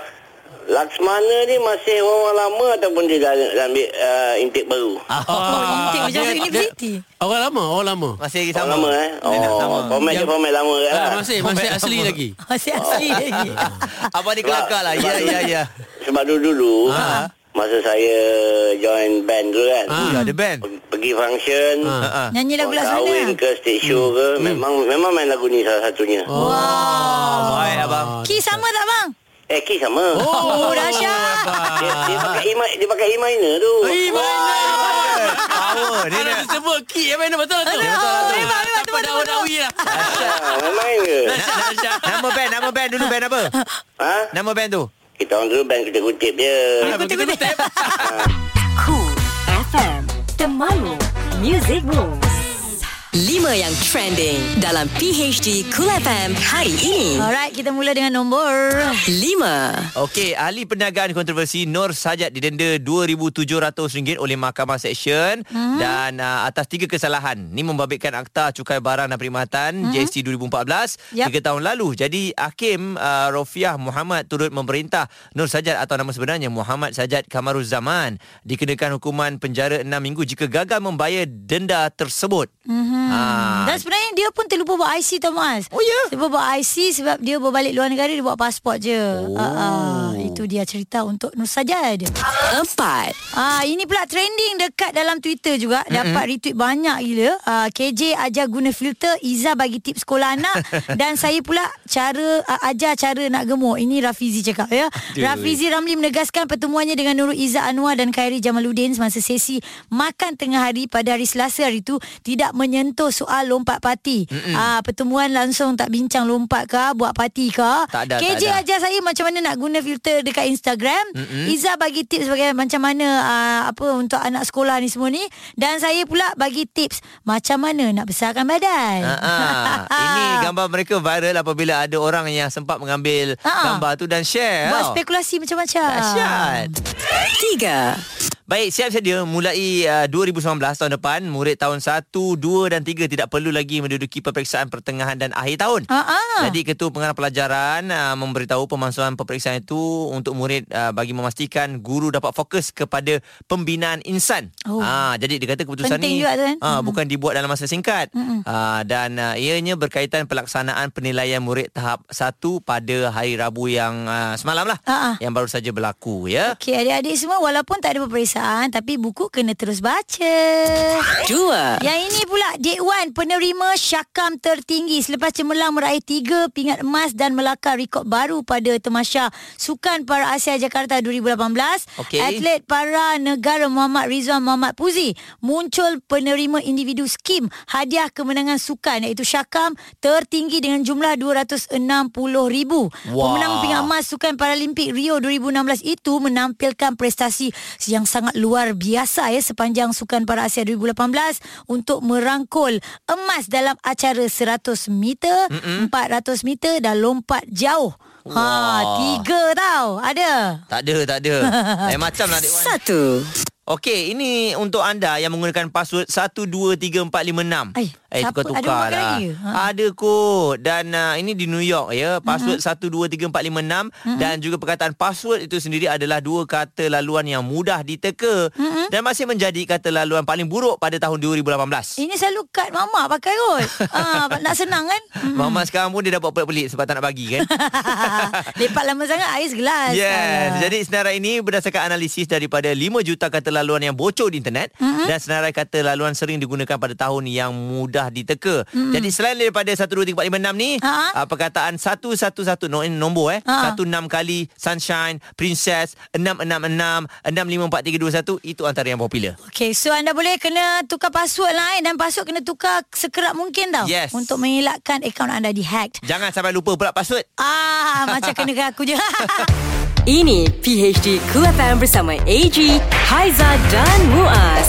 Speaker 7: Laksmana ni masih orang lama ataupun dia dah, dah ambil uh, intake baru?
Speaker 1: Oh, intake
Speaker 4: Ah,
Speaker 1: macam
Speaker 4: dia-
Speaker 1: universiti.
Speaker 4: dia- Orang lama, orang lama.
Speaker 2: Masih lagi
Speaker 7: Orang
Speaker 2: sama.
Speaker 7: lama eh? Oh,
Speaker 2: sama.
Speaker 7: format je
Speaker 4: Yang-
Speaker 7: format lama kan lah.
Speaker 4: Ah, masih masih
Speaker 2: Orang
Speaker 4: asli
Speaker 2: lama.
Speaker 4: lagi.
Speaker 1: Masih asli lagi.
Speaker 2: Abang ni kelakar lah. Ya ya ya.
Speaker 7: Sebab dulu-dulu,
Speaker 2: Ah.
Speaker 7: masa saya join band dulu kan,
Speaker 4: Ah.
Speaker 2: Ya, ada band.
Speaker 7: pe- pergi function,
Speaker 4: Ah.
Speaker 2: Ha.
Speaker 1: Nyanyi lagu
Speaker 7: orang
Speaker 1: laksana.
Speaker 7: kahwin ke stage show ke, memang memang main lagu ni salah satunya. Ah.
Speaker 2: Oh, baik abang.
Speaker 1: Ki sama tak bang?
Speaker 7: Eh, Ki sama.
Speaker 1: Oh, dahsyat.
Speaker 7: Dia, dia pakai imai, dia pakai imai tu.
Speaker 4: Eh, mana?
Speaker 2: Power dia
Speaker 4: Kalau
Speaker 2: nak.
Speaker 4: disebut ki, eh, mana betul lah tu?
Speaker 1: Aduh,
Speaker 4: Betul lah tu.
Speaker 1: memang, memang,
Speaker 4: Dapat
Speaker 1: betul, betul.
Speaker 4: daun-daun lah.
Speaker 7: Ah, main main ke?
Speaker 2: Nama band, nama band dulu band apa?
Speaker 7: Ha?
Speaker 2: Nama band tu.
Speaker 7: Kita orang dulu band kita kutip je.
Speaker 1: Ha,
Speaker 4: Kutip-kutip.
Speaker 3: Cool FM Temanmu Music Rules 5 yang trending dalam PHD Cool FM hari ini
Speaker 1: Alright, kita mula dengan nombor.
Speaker 3: 5
Speaker 2: Okey, ahli perniagaan kontroversi Nur Sajat didenda RM2,700 oleh Mahkamah Seksyen hmm. dan uh, atas tiga kesalahan. Ni membabitkan Akta Cukai Barang dan Perkhidmatan hmm. GST 2014
Speaker 1: Yap.
Speaker 2: tiga tahun lalu. Jadi Hakim uh, Rofiah Muhammad turut memerintah Nur Sajat atau nama sebenarnya Muhammad Sajat Kamaruzaman dikenakan hukuman penjara 6 minggu jika gagal membayar denda tersebut.
Speaker 1: Mhm.
Speaker 2: Hmm. Ha.
Speaker 1: Dan sebenarnya dia pun terlupa buat IC tau Mas
Speaker 2: Oh, ya?
Speaker 1: Dia buat IC sebab dia berbalik luar negara Dia buat pasport je oh. Itu dia cerita untuk Nur Sajad
Speaker 3: 4
Speaker 1: Ah ini pula trending dekat dalam Twitter juga mm-hmm. dapat retweet banyak gila. Ah KJ ajar guna filter, Iza bagi tips sekolah anak dan saya pula cara ah, ajar cara nak gemuk. Ini Rafizi cakap ya. Rafizi Ramli menegaskan pertemuannya dengan Nurul Iza Anwar dan Khairi Jamaluddin semasa sesi makan tengah hari pada hari Selasa hari itu tidak menyentuh soal lompat parti. Mm-hmm. Ah pertemuan langsung tak bincang lompat ke buat parti ke.
Speaker 2: Tak ada,
Speaker 1: KJ
Speaker 2: tak ada.
Speaker 1: ajar saya macam mana nak guna filter dekat Instagram. Mm-hmm. Iza bagi tips sebagai macam mana uh, apa untuk anak sekolah ni semua ni dan saya pula bagi tips macam mana nak besarkan badan.
Speaker 2: Ha-ha. Ha, Ini gambar mereka viral apabila ada orang yang sempat mengambil
Speaker 1: Ha-ha.
Speaker 2: gambar tu dan share.
Speaker 1: buat
Speaker 2: tau.
Speaker 1: spekulasi macam-macam.
Speaker 2: Dahsyat.
Speaker 3: 3
Speaker 2: Baik, siap sedia mulai uh, 2019 tahun depan, murid tahun 1, 2 dan 3 tidak perlu lagi menduduki peperiksaan pertengahan dan akhir tahun.
Speaker 1: Ha-ha.
Speaker 2: Jadi Ketua Pengarah Pelajaran uh, memberitahu pemansuhan peperiksaan itu untuk murid uh, bagi memastikan guru dapat fokus kepada pembinaan insan.
Speaker 1: Oh.
Speaker 2: Ah, jadi dia kata keputusan
Speaker 1: Penting
Speaker 2: ni
Speaker 1: juga tu, kan?
Speaker 2: ah, bukan dibuat dalam masa singkat ah, dan uh, ianya berkaitan pelaksanaan penilaian murid tahap 1 pada hari Rabu yang uh, semalam lah
Speaker 1: Ha-ha.
Speaker 2: yang baru saja berlaku ya.
Speaker 1: Okey, adik-adik semua walaupun tak ada peperiksaan tapi buku kena terus baca.
Speaker 3: 2
Speaker 1: Yang ini pula Dek Wan penerima syakam tertinggi selepas cemerlang meraih tiga pingat emas dan melakar rekod baru pada Temasya Sukan Para Asia Jakarta 2018.
Speaker 2: Okey.
Speaker 1: Atlet para negara Muhammad Rizwan Muhammad Puzi muncul penerima individu skim hadiah kemenangan sukan iaitu syakam tertinggi dengan jumlah 260,000.
Speaker 2: Wah.
Speaker 1: Pemenang pingat emas Sukan Paralimpik Rio 2016 itu menampilkan prestasi yang sangat luar biasa ya sepanjang Sukan Para Asia 2018 untuk merangkul emas dalam acara 100 meter, Mm-mm. 400 meter dan lompat jauh. Ha,
Speaker 2: Wah.
Speaker 1: tiga tau. Ada.
Speaker 2: Tak ada, tak ada. Lain macam lah, Dek Wan.
Speaker 3: Satu.
Speaker 2: Okey, ini untuk anda yang menggunakan password 123456.
Speaker 1: Ay, siapa ada orang kaya? Ha.
Speaker 2: lah.
Speaker 1: Mhm.
Speaker 2: Ada kot. Dan uh, ini di New York ya. Password uh-huh. 123456 uh-huh. dan juga perkataan password itu sendiri adalah dua kata laluan yang mudah diteka uh-huh.
Speaker 1: Mhm.
Speaker 2: dan masih menjadi kata laluan paling buruk pada tahun 2018.
Speaker 1: Ini selalu kad mama pakai kot. ha, nak senang kan? Mm.
Speaker 2: Mama sekarang pun dia dah buat pelik-pelik sebab tak nak bagi kan.
Speaker 1: Lepak lama sangat air segelas.
Speaker 2: Yes.
Speaker 1: Ah.
Speaker 2: Jadi senarai ini berdasarkan analisis daripada 5 juta kata laluan yang bocor di internet mm-hmm. dan senarai kata laluan sering digunakan pada tahun yang mudah diteka. Mm-hmm. Jadi selain daripada 1 2 3 4 5 6 ni,
Speaker 1: Ha?
Speaker 2: uh, perkataan 1 1 1 no, ini nombor eh,
Speaker 1: Ha.
Speaker 2: 1 6 kali sunshine, princess, 6 6 6, 6 5 4 3 2 1 itu antara yang popular.
Speaker 1: Okey, so anda boleh kena tukar password lah eh, dan password kena tukar sekerap mungkin tau.
Speaker 2: Yes.
Speaker 1: Untuk mengelakkan akaun anda dihacked.
Speaker 2: Jangan sampai lupa pula password.
Speaker 1: Ah, macam kena ke aku je.
Speaker 3: Ini PHD Cool FM bersama AG, Haiza dan Muaz.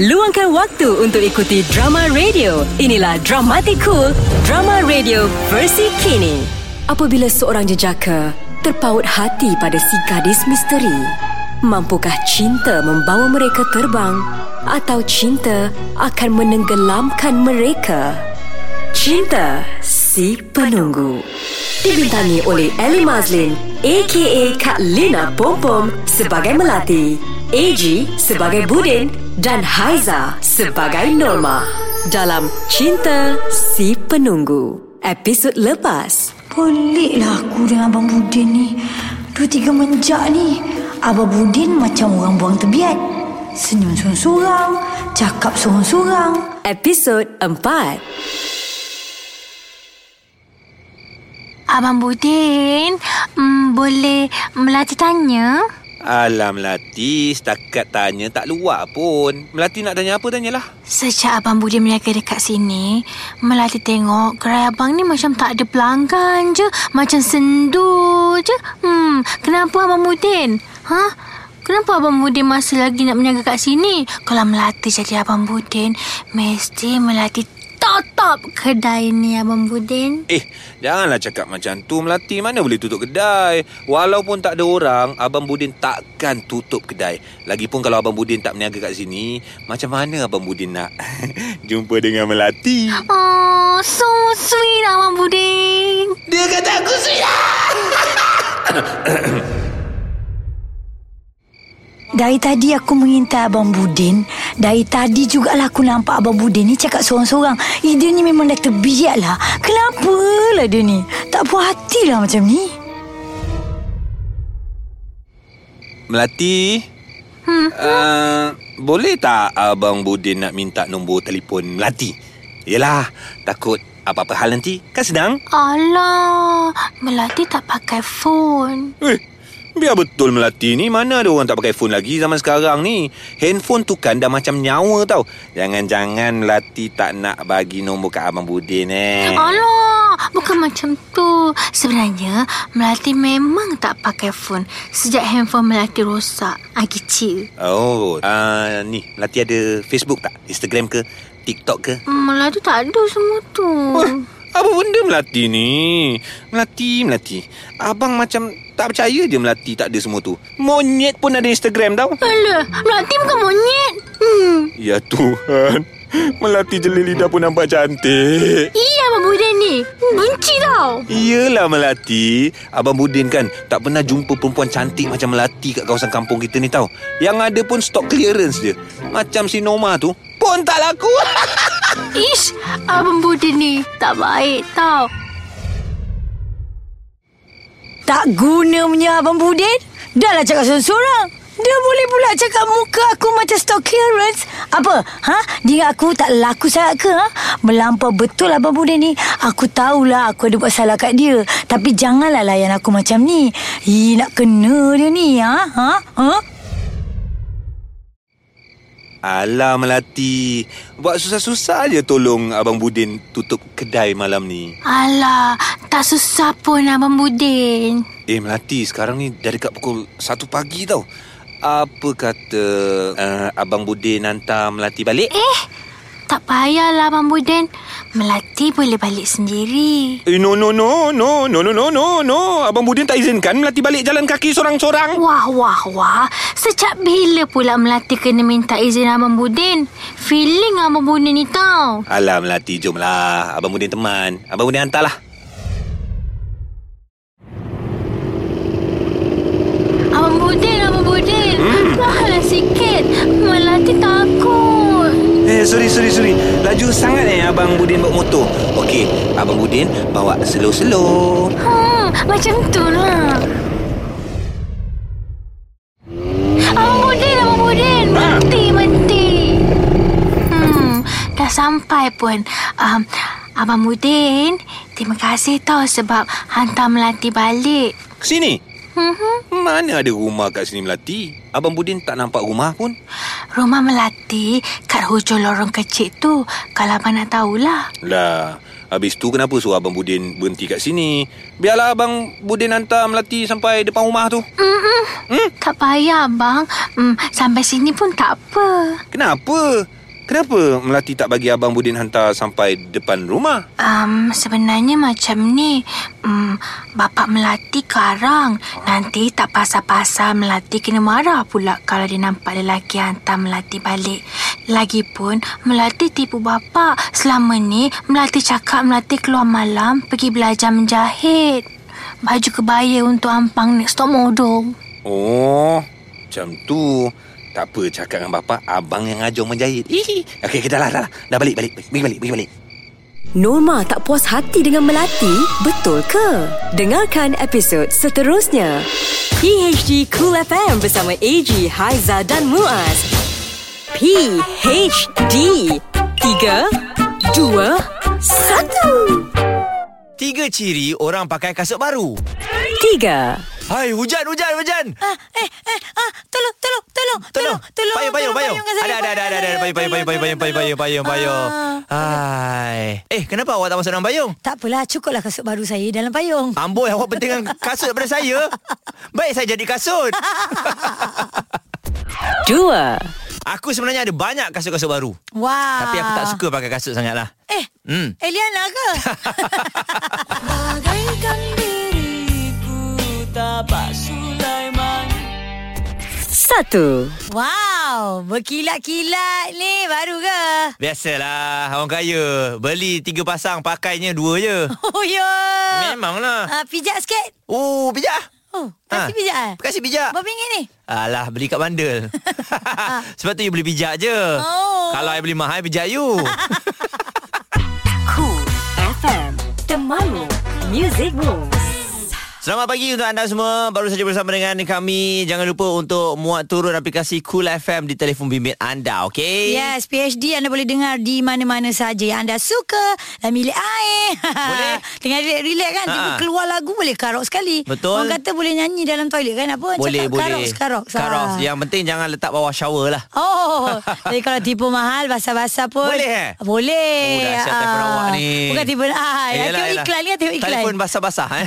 Speaker 3: Luangkan waktu untuk ikuti drama radio. Inilah Dramatik Cool, drama radio versi kini. Apabila seorang jejaka terpaut hati pada si gadis misteri, mampukah cinta membawa mereka terbang atau cinta akan menenggelamkan mereka? Cinta Si Penunggu Dibintangi oleh Ellie Mazlin A.K.A. Kak Lina Pompom sebagai Melati AG sebagai Budin dan Haiza sebagai Norma dalam Cinta Si Penunggu episod lepas
Speaker 8: Peliklah lah aku dengan Abang Budin ni. Dua tiga menjak ni. Abang Budin macam orang buang tebiat. Senyum sorang-sorang. Cakap sorang-sorang.
Speaker 3: episod empat
Speaker 9: Abang Budin, mm, boleh Melati tanya?
Speaker 10: Alah Melati, setakat tanya tak luar pun. Melati nak tanya apa, tanyalah.
Speaker 9: Sejak Abang Budin berniaga dekat sini, Melati tengok gerai abang ni macam tak ada pelanggan je. Macam sendu je. Hmm, kenapa Abang Budin? Ha? Kenapa Abang Budin masih lagi nak berniaga kat sini? Kalau Melati jadi Abang Budin, mesti Melati tutup kedai ni Abang Budin.
Speaker 10: Eh, janganlah cakap macam tu Melati. Mana boleh tutup kedai? Walaupun tak ada orang, Abang Budin takkan tutup kedai. Lagipun kalau Abang Budin tak berniaga kat sini, macam mana Abang Budin nak jumpa dengan Melati?
Speaker 9: Oh, so sweet Abang Budin.
Speaker 8: Dari tadi aku mengintai Abang Budin Dari tadi jugalah aku nampak Abang Budin ni cakap sorang-sorang Eh dia ni memang dah terbiak lah Kenapa lah dia ni Tak puas hati lah macam ni
Speaker 10: Melati? Hmm. Uh, boleh tak Abang Budin nak minta nombor telefon Melati? Yelah, takut apa-apa hal nanti. Kan senang.
Speaker 9: Alah, Melati tak pakai phone.
Speaker 10: Eh, biar betul Melati ni Mana ada orang tak pakai phone lagi zaman sekarang ni Handphone tu kan dah macam nyawa tau Jangan-jangan Melati tak nak bagi nombor kat Abang Budin eh
Speaker 9: Alah, bukan macam tu. Sebenarnya, Melati memang tak pakai phone. Sejak handphone Melati rosak, ah kecil.
Speaker 10: Oh, uh, ni Melati ada Facebook tak? Instagram ke? TikTok ke?
Speaker 9: Melati tak ada semua tu.
Speaker 10: Wah, apa benda Melati ni? Melati, Melati Abang macam tak percaya je Melati tak ada semua tu Monyet pun ada Instagram tau
Speaker 9: Alah, Melati bukan monyet. Hmm.
Speaker 10: Ya Tuhan Melati jeli lidah pun nampak cantik
Speaker 9: Iya, Abang Budan ni. Benci tau.
Speaker 10: Iyalah Melati Abang Budin kan Tak pernah jumpa perempuan cantik Macam Melati Kat kawasan kampung kita ni tau Yang ada pun stok clearance dia Macam si Noma tu Pun tak laku
Speaker 9: Ish, Abang Budan ni tak baik tau.
Speaker 8: Tak guna punya Abang Budin Dah lah cakap sorang-sorang Dia boleh pula cakap muka aku macam stock clearance Apa? Ha? Dia ingat aku tak laku sangat ke? Ha? Melampau betul Abang Budin ni Aku tahulah aku ada buat salah kat dia Tapi janganlah layan aku macam ni Hi, nak kena dia ni ha? Ha? Ha?
Speaker 10: Alah Melati Buat susah-susah je tolong Abang Budin Tutup kedai malam ni
Speaker 9: Alah, tak susah pun Abang Budin.
Speaker 10: Eh Melati sekarang ni Dah dekat pukul 1 pagi tau apa kata uh, Abang Budin hantar Melati balik? Eh?
Speaker 9: Tak payahlah Abang Budin. Melati boleh balik sendiri.
Speaker 10: Eh, no, no, no, no, no, no, no, no, no. Abang Budin tak izinkan Melati balik jalan kaki seorang-seorang.
Speaker 9: Wah, wah, wah. Sejak bila pula Melati kena minta izin Abang Budin? Feeling Abang Budin ni tau.
Speaker 10: Alah Melati, jomlah. lah, Abang Budin teman. Abang Budin hantarlah.
Speaker 9: Abang Budin, Abang Budin. Hmm. Perlahanlah sikit. Melati takut.
Speaker 10: Eh, sorry, sorry, sorry. Laju sangat eh Abang Budin bawa motor. Okey, Abang Budin bawa slow-slow.
Speaker 9: Hmm, macam tu lah. Abang Budin, Abang Budin. Mati, mati. Hmm, dah sampai pun. Um, Abang Budin, terima kasih tau sebab hantar Melati balik.
Speaker 10: Sini.
Speaker 9: Hmm,
Speaker 10: Mana ada rumah kat sini Melati? Abang Budin tak nampak rumah pun.
Speaker 9: rumah Melati kat hujung lorong kecil tu. Kalau abang nak tahulah.
Speaker 10: Lah, habis tu kenapa suruh Abang Budin berhenti kat sini? Biarlah Abang Budin hantar Melati sampai depan rumah tu. Hmm?
Speaker 9: Mm-mm. Mm? Tak payah, abang. Mm, sampai sini pun tak apa.
Speaker 10: Kenapa? Kenapa Melati tak bagi Abang Budin hantar sampai depan rumah?
Speaker 9: Um, sebenarnya macam ni. Um, bapak Melati karang. Nanti tak pasal-pasal Melati kena marah pula kalau dia nampak lelaki hantar Melati balik. Lagipun, Melati tipu bapak. Selama ni, Melati cakap Melati keluar malam pergi belajar menjahit. Baju kebaya untuk ampang next top model.
Speaker 10: Oh, macam tu. Tak apa cakap dengan bapak, abang yang ajar menjahit. Hihi. Okey, kita lah, dah lah. Dah balik, balik. Pergi balik, pergi balik.
Speaker 3: Norma tak puas hati dengan Melati, betul ke? Dengarkan episod seterusnya. PHD Cool FM bersama AG, Haiza dan Muaz. PHD 3 2 1
Speaker 2: Tiga ciri orang pakai kasut baru.
Speaker 3: 3
Speaker 2: Hai, hujan, hujan, hujan.
Speaker 1: Ah, eh, eh, ah, tolong, tolong, tolong, tolong, tolong.
Speaker 2: Payung, payung, payung.
Speaker 1: kat
Speaker 2: Ada,
Speaker 1: saya,
Speaker 2: ada, ada, ada, ada. Payung, payung, payung, payung, payung, payung, payung, payung. Hai. Eh, kenapa awak tak masuk dalam payung?
Speaker 1: Ah, Tak apalah, cukuplah kasut baru saya dalam payung.
Speaker 2: Amboi, awak pentingkan kasut daripada saya. Baik saya jadi kasut.
Speaker 3: 2
Speaker 2: Aku sebenarnya ada banyak kasut-kasut baru.
Speaker 1: Wah.
Speaker 2: Tapi aku tak suka pakai kasut sangat lah.
Speaker 1: Eh,
Speaker 2: Hmm.
Speaker 1: Eliana ke?
Speaker 11: Bagaikan diriku tapak Sulaiman
Speaker 3: 1
Speaker 1: wow, berkilat-kilat ni baru ke?
Speaker 2: Biasalah, orang kaya. Beli tiga pasang, pakainya dua je.
Speaker 1: Oh ya.
Speaker 2: Memanglah.
Speaker 1: Ah, pijak sikit.
Speaker 2: Oh, pijak.
Speaker 1: Oh,
Speaker 2: Ah,
Speaker 1: kasih pijak eh?
Speaker 2: kasih pijak.
Speaker 1: Berapa ringgit ni?
Speaker 2: Alah, beli kat bandel. Sebab tu you beli pijak je.
Speaker 1: Oh.
Speaker 2: Kalau I beli mahal, I pijak you.
Speaker 3: Cool FM Temanmu Music Moves
Speaker 2: Selamat pagi untuk anda semua. Baru saja bersama dengan kami. Jangan lupa untuk muat turun aplikasi Cool FM di telefon bimbit anda, okey?
Speaker 1: Yes, PhD anda boleh dengar di mana-mana saja yang anda suka dan milik air. Boleh. Tengah relax-relax kan, tiba
Speaker 2: Ha.
Speaker 1: keluar lagu boleh karok sekali.
Speaker 2: Betul.
Speaker 1: Orang kata boleh nyanyi dalam toilet kan apa?
Speaker 2: Boleh,
Speaker 1: Cakap
Speaker 2: boleh.
Speaker 1: Karok, karok.
Speaker 2: Karos. Yang penting jangan letak bawah shower lah.
Speaker 1: Oh, jadi kalau tipu mahal basah-basah pun
Speaker 2: Boleh eh?
Speaker 1: Boleh.
Speaker 2: Oh, dahsyat
Speaker 1: Ah.
Speaker 2: telefon awak ni.
Speaker 1: Bukan tipu ah, ya, tengok iklan ni tengok iklan.
Speaker 2: Telefon basah-basah eh.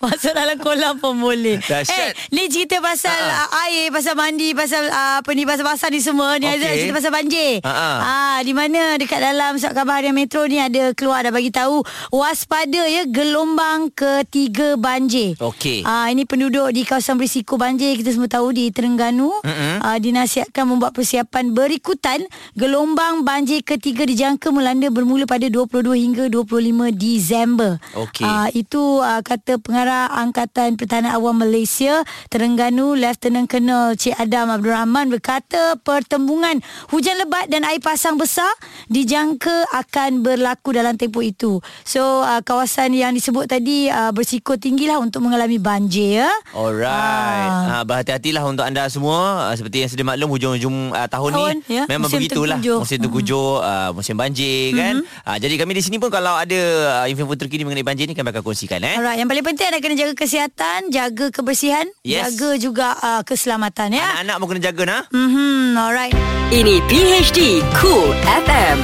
Speaker 1: Masuk dalam kolam pun boleh
Speaker 2: Dahsyat.
Speaker 1: Eh, ni cerita pasal
Speaker 2: Ha-ha.
Speaker 1: uh air Pasal mandi Pasal uh, apa ni Pasal-pasal ni semua Ni ada
Speaker 2: Okey.
Speaker 1: cerita pasal banjir
Speaker 2: Ha-ha.
Speaker 1: Ah, Di mana dekat dalam Surat khabar harian metro ni Ada keluar dah bagi tahu Waspada ya Gelombang ketiga banjir
Speaker 2: Okey.
Speaker 1: Ah ini penduduk di kawasan berisiko banjir kita semua tahu di Terengganu
Speaker 2: Mm-mm.
Speaker 1: ah, dinasihatkan membuat persiapan berikutan gelombang banjir ketiga dijangka melanda bermula pada 22 hingga 25 Disember.
Speaker 2: Okey.
Speaker 1: Ah, itu ah, kata pengarah Angkatan Pertahanan Awam Malaysia Terengganu Lieutenant Colonel Cik Adam Abdul Rahman berkata pertembungan hujan lebat dan air pasang besar dijangka akan berlaku dalam tempoh itu. So ah, kawasan yang disebut tadi ah, bersiko tinggilah untuk mengalami banjir ya.
Speaker 2: Alright. Ah. berhati-hatilah untuk anda semua. Ah, seperti yang sedia maklum hujung-hujung ah, tahun,
Speaker 1: Tahun,
Speaker 2: ni
Speaker 1: ya.
Speaker 2: memang
Speaker 1: Musim Mm-hmm.
Speaker 2: begitulah.
Speaker 1: tengkujuh.
Speaker 2: Musim tengkujuh, ah, musim banjir kan.
Speaker 1: Mm-hmm.
Speaker 2: Ah, jadi kami di sini pun kalau ada ah, info terkini mengenai banjir ni kami akan kongsikan eh.
Speaker 1: Alright, ya. yang paling penting anda kena jaga kesihatan, jaga kebersihan,
Speaker 2: Yes.
Speaker 1: jaga juga uh, keselamatan ya.
Speaker 2: Anak-anak pun kena jaga nah.
Speaker 1: Mhm, alright.
Speaker 3: Ini PHD Cool FM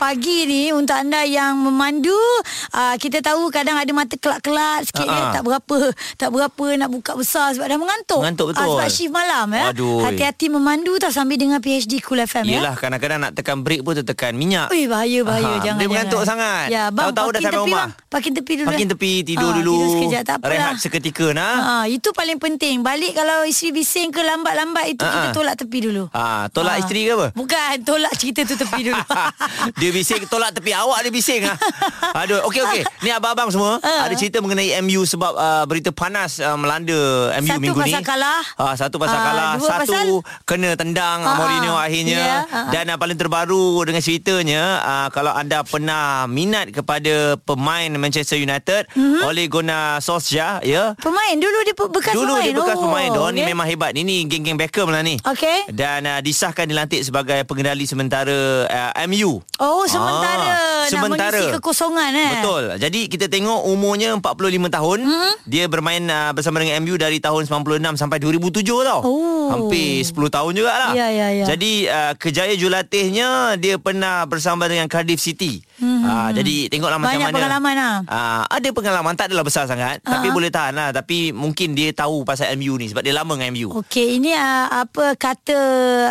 Speaker 1: pagi ni untuk anda yang memandu, uh, kita tahu kadang ada mata kelak-kelak
Speaker 2: Ha,
Speaker 1: sikit uh-huh.
Speaker 2: ha.
Speaker 1: tak berapa tak berapa nak buka besar sebab dah mengantuk.
Speaker 2: Mengantuk
Speaker 1: Ah, sebab
Speaker 2: betul.
Speaker 1: shift malam ya.
Speaker 2: Aduh.
Speaker 1: Hati-hati memandu tau sambil dengar PhD Cool FM
Speaker 2: Yelah
Speaker 1: ya. Oh,
Speaker 2: kadang-kadang nak tekan break pun tertekan minyak.
Speaker 1: Ui bahaya bahaya
Speaker 2: Aha,
Speaker 1: jangan
Speaker 2: Dia mengantuk
Speaker 1: jangan.
Speaker 2: sangat.
Speaker 1: Ya, bang,
Speaker 2: Tahu-tahu dah
Speaker 1: parking
Speaker 2: sampai
Speaker 1: tepi,
Speaker 2: rumah.
Speaker 1: Bang. Parking tepi dulu.
Speaker 2: Makin
Speaker 1: eh.
Speaker 2: tepi tidur
Speaker 1: Ah,
Speaker 2: dulu.
Speaker 1: Tidur sekejap tak apalah.
Speaker 2: Rehat ah. seketika nah.
Speaker 1: Ha, itu paling penting. Balik kalau isteri bising ke lambat-lambat itu
Speaker 2: Ha,
Speaker 1: kita
Speaker 2: ha.
Speaker 1: tolak tepi dulu.
Speaker 2: Ah, tolak
Speaker 1: Ah.
Speaker 2: isteri ke apa?
Speaker 1: Bukan, tolak cerita tu tepi dulu.
Speaker 2: Dia bising tolak tepi awak dia bising ah. Aduh, okey okey.
Speaker 1: Ah.
Speaker 2: Ni abang-abang semua ada cerita mengenai MU sebab uh, berita panas uh, melanda MU
Speaker 1: Satu
Speaker 2: minggu ni.
Speaker 1: pasal kalah.
Speaker 2: Ah, satu pasal
Speaker 1: Ah,
Speaker 2: kalah,
Speaker 1: dua
Speaker 2: satu
Speaker 1: pasal-
Speaker 2: kena tendang uh
Speaker 1: Ah,
Speaker 2: Mourinho
Speaker 1: ah.
Speaker 2: akhirnya
Speaker 1: Ya, ah, ah.
Speaker 2: dan uh, paling terbaru dengan ceritanya uh, kalau anda pernah minat kepada pemain Manchester United
Speaker 1: Mhm.
Speaker 2: mm-hmm. oleh Gunnar Solskjaer ya.
Speaker 1: Pemain dulu dia pe- bekas
Speaker 2: Dulu
Speaker 1: pemain.
Speaker 2: dia bekas
Speaker 1: Oh,
Speaker 2: pemain Dia orang ni
Speaker 1: okey.
Speaker 2: memang hebat Ini geng-geng Beckham lah ni
Speaker 1: Okey.
Speaker 2: Dan uh, disahkan dilantik sebagai pengendali sementara uh, MU
Speaker 1: Oh, sementara nak mengisi kekosongan, eh?
Speaker 2: Betul Jadi kita tengok umurnya 45 tahun hmm? Dia bermain uh, bersama dengan MU dari tahun 96 sampai 2007 tau
Speaker 1: Oh.
Speaker 2: Hampir 10 tahun jugalah
Speaker 1: Ya, ya, ya.
Speaker 2: Jadi uh, kejaya jurulatihnya Dia pernah bersama dengan Cardiff City
Speaker 1: Mhm.
Speaker 2: hmm. uh, Jadi tengoklah macam
Speaker 1: Banyak
Speaker 2: mana
Speaker 1: pengalaman lah.
Speaker 2: Uh, ada pengalaman tak adalah besar sangat uh-huh. tapi boleh tahan lah tapi mungkin dia tahu pasal MU ni sebab dia lama dengan MU.
Speaker 1: Okey, ini uh, apa kata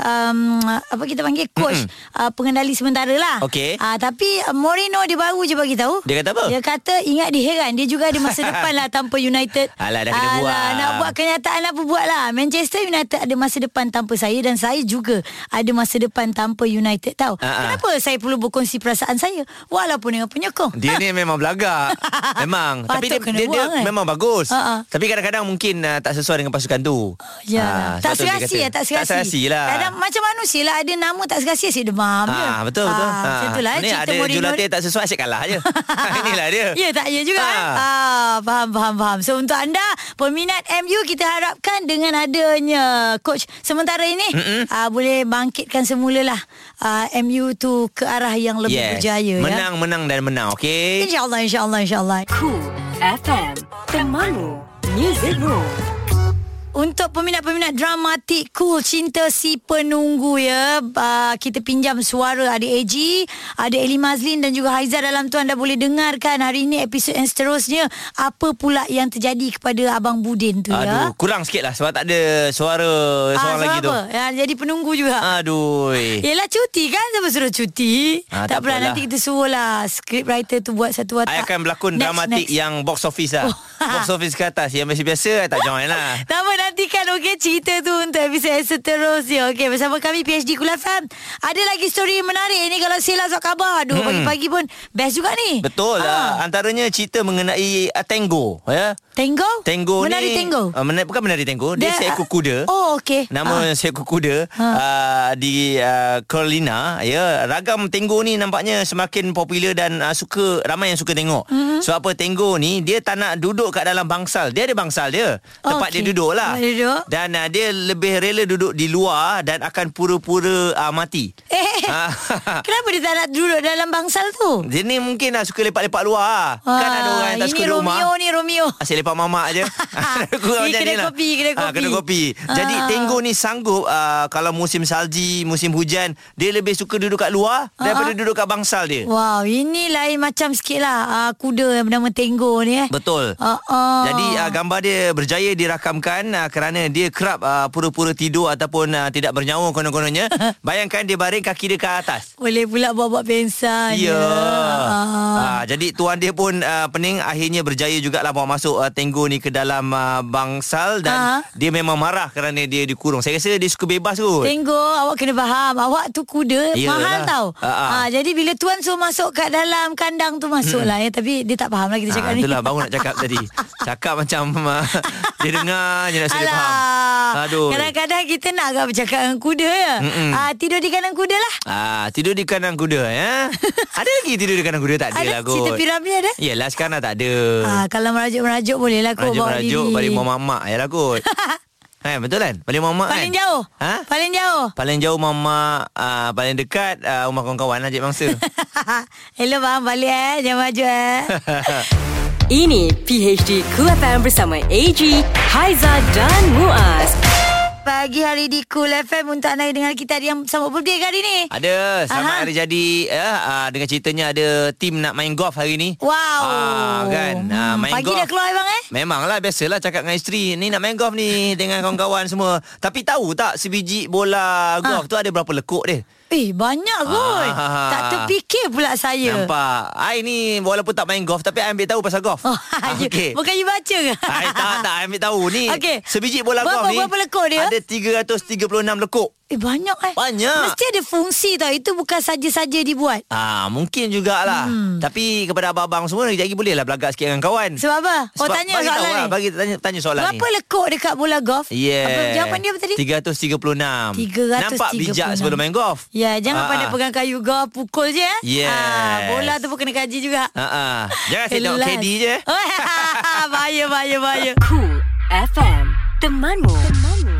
Speaker 1: um, apa kita panggil coach mm-hmm. uh, pengendali sementara lah.
Speaker 2: Okey.
Speaker 1: Uh, tapi uh, Mourinho dia baru je bagi tahu.
Speaker 2: Dia kata apa?
Speaker 1: Dia kata ingat dia heran dia juga ada masa depan lah tanpa United.
Speaker 2: Alah, dah kena buat.
Speaker 1: Nak buat kenyataan apa buat lah. Manchester United ada masa depan tanpa saya dan saya juga ada masa depan tanpa United tahu.
Speaker 2: Ah, ah.
Speaker 1: Kenapa saya perlu berkongsi perasaan saya walaupun dengan penyokong?
Speaker 2: Dia ni memang belagak. Memang.
Speaker 1: Patut
Speaker 2: tapi dia
Speaker 1: kena
Speaker 2: dia, dia
Speaker 1: buang, kan?
Speaker 2: memang bagus.
Speaker 1: Ha, ha.
Speaker 2: Tapi kadang-kadang mungkin uh, tak sesuai dengan pasukan tu. Ah,
Speaker 1: Ya,
Speaker 2: sebab
Speaker 1: tak
Speaker 2: tu dia
Speaker 1: serasi
Speaker 2: kata.
Speaker 1: ya, tak serasi.
Speaker 2: Tak serasi lah.
Speaker 1: Kadang macam manusia lah ada nama tak serasi asyik demam je.
Speaker 2: Ah betul betul.
Speaker 1: Ah,
Speaker 2: Ah,
Speaker 1: Macam tu lah
Speaker 2: Ni
Speaker 1: cerita
Speaker 2: ada
Speaker 1: Mourinho
Speaker 2: jurulatih
Speaker 1: ni.
Speaker 2: tak sesuai asyik kalah je. Ah, Inilah dia.
Speaker 1: Ya tak ya juga ah. ah faham faham faham. So untuk anda peminat MU kita harapkan dengan adanya coach sementara ini ah, boleh bangkitkan semulalah ah, MU tu ke arah yang lebih berjaya
Speaker 2: Menang,
Speaker 1: ya.
Speaker 2: menang dan menang. Okey.
Speaker 1: Insyaallah insyaallah insyaallah. Cool FM temanmu music room. Untuk peminat-peminat dramatik cool cinta si penunggu ya. Uh, kita pinjam suara ada AG, ada Eli Mazlin dan juga Haiza dalam tu anda boleh dengarkan hari ini episod yang seterusnya apa pula yang terjadi kepada abang Budin tu
Speaker 2: Aduh,
Speaker 1: ya.
Speaker 2: kurang sikit lah sebab tak ada suara seorang lagi tu. Ah.
Speaker 1: apa? Ya, jadi penunggu juga.
Speaker 2: Aduh.
Speaker 1: Yelah cuti kan Siapa suruh cuti
Speaker 2: Ah,
Speaker 1: Tak
Speaker 2: tak
Speaker 1: apalah
Speaker 2: apalah.
Speaker 1: Nanti kita suruh lah Script writer tu buat satu watak
Speaker 2: Saya akan berlakon
Speaker 1: Next,
Speaker 2: dramatik
Speaker 1: next. Oh.
Speaker 2: yang box office lah. box office ke atas. Yang biasa-biasa I tak join lah.
Speaker 1: Tak apa nantikan okey cerita tu untuk episod yang seterusnya. Okey bersama kami PhD Kul FM. Ada lagi story menarik ni kalau Sila sok khabar. Aduh
Speaker 2: Mm-mm.
Speaker 1: pagi-pagi pun best juga ni.
Speaker 2: Hmm. Betul
Speaker 1: Ah.
Speaker 2: lah. Antaranya cerita mengenai uh, tango. Ya?
Speaker 1: Tango?
Speaker 2: Tango
Speaker 1: Menari
Speaker 2: ni.
Speaker 1: tango?
Speaker 2: Uh, mena- bukan menari tango. Dia,
Speaker 1: Dia,
Speaker 2: dia seekor kuda.
Speaker 1: Oh Ah. okey.
Speaker 2: Nama ha. seekor kuda ha. uh, di uh, Carolina ya ragam tenggo ni nampaknya semakin popular dan uh, suka ramai yang suka tengok.
Speaker 1: Mhm.
Speaker 2: Mm-hmm. Sebab apa tenggo ni dia tak nak duduk kat dalam bangsal. Dia ada bangsal dia. Tempat
Speaker 1: Okey.
Speaker 2: dia duduk lah.
Speaker 1: Tempat dia duduk.
Speaker 2: Dan uh, dia lebih rela duduk di luar dan akan pura-pura uh, mati.
Speaker 1: Eh,
Speaker 2: Ah.
Speaker 1: kenapa dia tak nak duduk dalam bangsal tu?
Speaker 2: Dia ni mungkin lah suka lepak-lepak luar lah. Kan ada orang yang tak suka
Speaker 1: Ah, ini
Speaker 2: rumah.
Speaker 1: Romeo ni Romeo.
Speaker 2: Asyik lepak mamak je Kurang
Speaker 1: Ni
Speaker 2: macam
Speaker 1: kena
Speaker 2: ni lah.
Speaker 1: kopi, kena
Speaker 2: Ah, Kena
Speaker 1: kopi.
Speaker 2: kopi Jadi
Speaker 1: Ah.
Speaker 2: Tenggo ni sanggup uh, Kalau musim salji Musim hujan Dia lebih suka duduk kat luar Daripada
Speaker 1: Ah.
Speaker 2: duduk kat bangsal dia
Speaker 1: Wow, ini lain macam sikit lah uh, kuda yang bernama Tenggo ni eh.
Speaker 2: Betul
Speaker 1: Ah, ah.
Speaker 2: Jadi uh, gambar dia berjaya dirakamkan uh, Kerana dia kerap uh, Pura-pura tidur Ataupun uh, tidak bernyawa konon-kononnya Bayangkan dia baring kaki dia ke atas
Speaker 1: Boleh pula buat-buat pensan.
Speaker 2: Ya.
Speaker 1: Ah.
Speaker 2: Ah, jadi tuan dia pun uh, pening akhirnya berjaya jugalah bawa masuk uh, Tenggo ni ke dalam uh, bangsal
Speaker 1: Ha?
Speaker 2: dan dia memang marah kerana dia dikurung. Saya rasa dia suka bebas kot.
Speaker 1: Tenggo awak kena faham Awak tu kuda
Speaker 2: Yelah.
Speaker 1: Mahal tau
Speaker 2: Ha, ha.
Speaker 1: ha, Jadi bila tuan suruh masuk Kat dalam kandang tu Masuk
Speaker 2: Mm-mm.
Speaker 1: lah ya Tapi dia tak faham lah Kita cakap
Speaker 2: Ah,
Speaker 1: ni
Speaker 2: itulah baru nak cakap tadi. Cakap macam uh, dia dengar je nak saya faham. Aduh.
Speaker 1: Kadang-kadang kita nak agak bercakap dengan kuda ya
Speaker 2: Mm-mm.
Speaker 1: ha, Tidur di kandang kuda lah
Speaker 2: Ah, tidur di kanan kuda ya. ada lagi tidur di kanan kuda tak ada,
Speaker 1: Ada
Speaker 2: lah kot.
Speaker 1: cerita piramli ada?
Speaker 2: Yelah sekarang dah tak ada.
Speaker 1: ha, Kalau merajuk-merajuk boleh lah kot bawa
Speaker 2: Rajuk-rajuk
Speaker 1: diri.
Speaker 2: balik rumah mak ya lah kot. Eh, betul kan? Balik rumah mak
Speaker 1: Paling
Speaker 2: kan?
Speaker 1: jauh
Speaker 2: Ha?
Speaker 1: Paling jauh
Speaker 2: Paling jauh mama uh, Paling dekat uh, Rumah kawan-kawan Najib Mangsa
Speaker 1: Hello bang balik eh Jangan maju eh
Speaker 3: Ini PHD Cool FM bersama AG, Haiza dan Muaz.
Speaker 1: Pagi hari di Cool FM Untuk anda dengan kita ada yang sambut birthday ke hari ni
Speaker 2: Ada Selamat
Speaker 1: Aha.
Speaker 2: hari jadi ya, ah, Dengan ceritanya ada Tim nak main golf hari ni
Speaker 1: Wow Hmm,
Speaker 2: ah, Kan ah, Main
Speaker 1: Pagi
Speaker 2: golf
Speaker 1: dah keluar bang eh
Speaker 2: Memanglah biasalah cakap dengan isteri Ni nak main golf ni Dengan kawan-kawan semua Tapi tahu tak Sebiji bola
Speaker 1: Ah.
Speaker 2: golf tu ada berapa lekuk dia
Speaker 1: Eh banyak kot
Speaker 2: Ah.
Speaker 1: Tak terfikir pula saya
Speaker 2: Nampak I ni walaupun tak main golf Tapi I ambil tahu pasal golf oh,
Speaker 1: Okay. ya. Bukan you baca ke?
Speaker 2: I tak, tak I ambil tahu ni
Speaker 1: Okey.
Speaker 2: Sebiji bola
Speaker 1: Berapa-
Speaker 2: golf ni
Speaker 1: berapa lekuk dia?
Speaker 2: Ada 336 lekuk
Speaker 1: Eh banyak eh
Speaker 2: Banyak.
Speaker 1: Mesti ada fungsi tau Itu bukan saja-saja dibuat
Speaker 2: Ah, mungkin jugalah. Hmm. Tapi kepada abang-abang semua lagi bolehlah belagak sikit dengan kawan.
Speaker 1: Sebab apa? Oh
Speaker 2: Sebab
Speaker 1: tanya
Speaker 2: bagi tahu
Speaker 1: soalan
Speaker 2: lah,
Speaker 1: ni
Speaker 2: Bagi tanya, tanya soalan ni.
Speaker 1: Berapa lekuk dekat bola golf?
Speaker 2: Yeah.
Speaker 1: Apa jawapan dia apa tadi?
Speaker 2: 336.
Speaker 1: 336.
Speaker 2: Nampak bijak sebelum main golf.
Speaker 1: Ya, jangan
Speaker 2: Ah,
Speaker 1: pandai
Speaker 2: ah.
Speaker 1: pegang kayu golf, pukul je eh.
Speaker 2: Yes.
Speaker 1: Ah, bola tu pun kena kaji juga.
Speaker 2: Ha ah. Jangan tengok
Speaker 1: Kelas. Oh. ya.
Speaker 2: KD je.
Speaker 1: bahaya, bahaya, bahaya.
Speaker 3: Cool FM Temanmu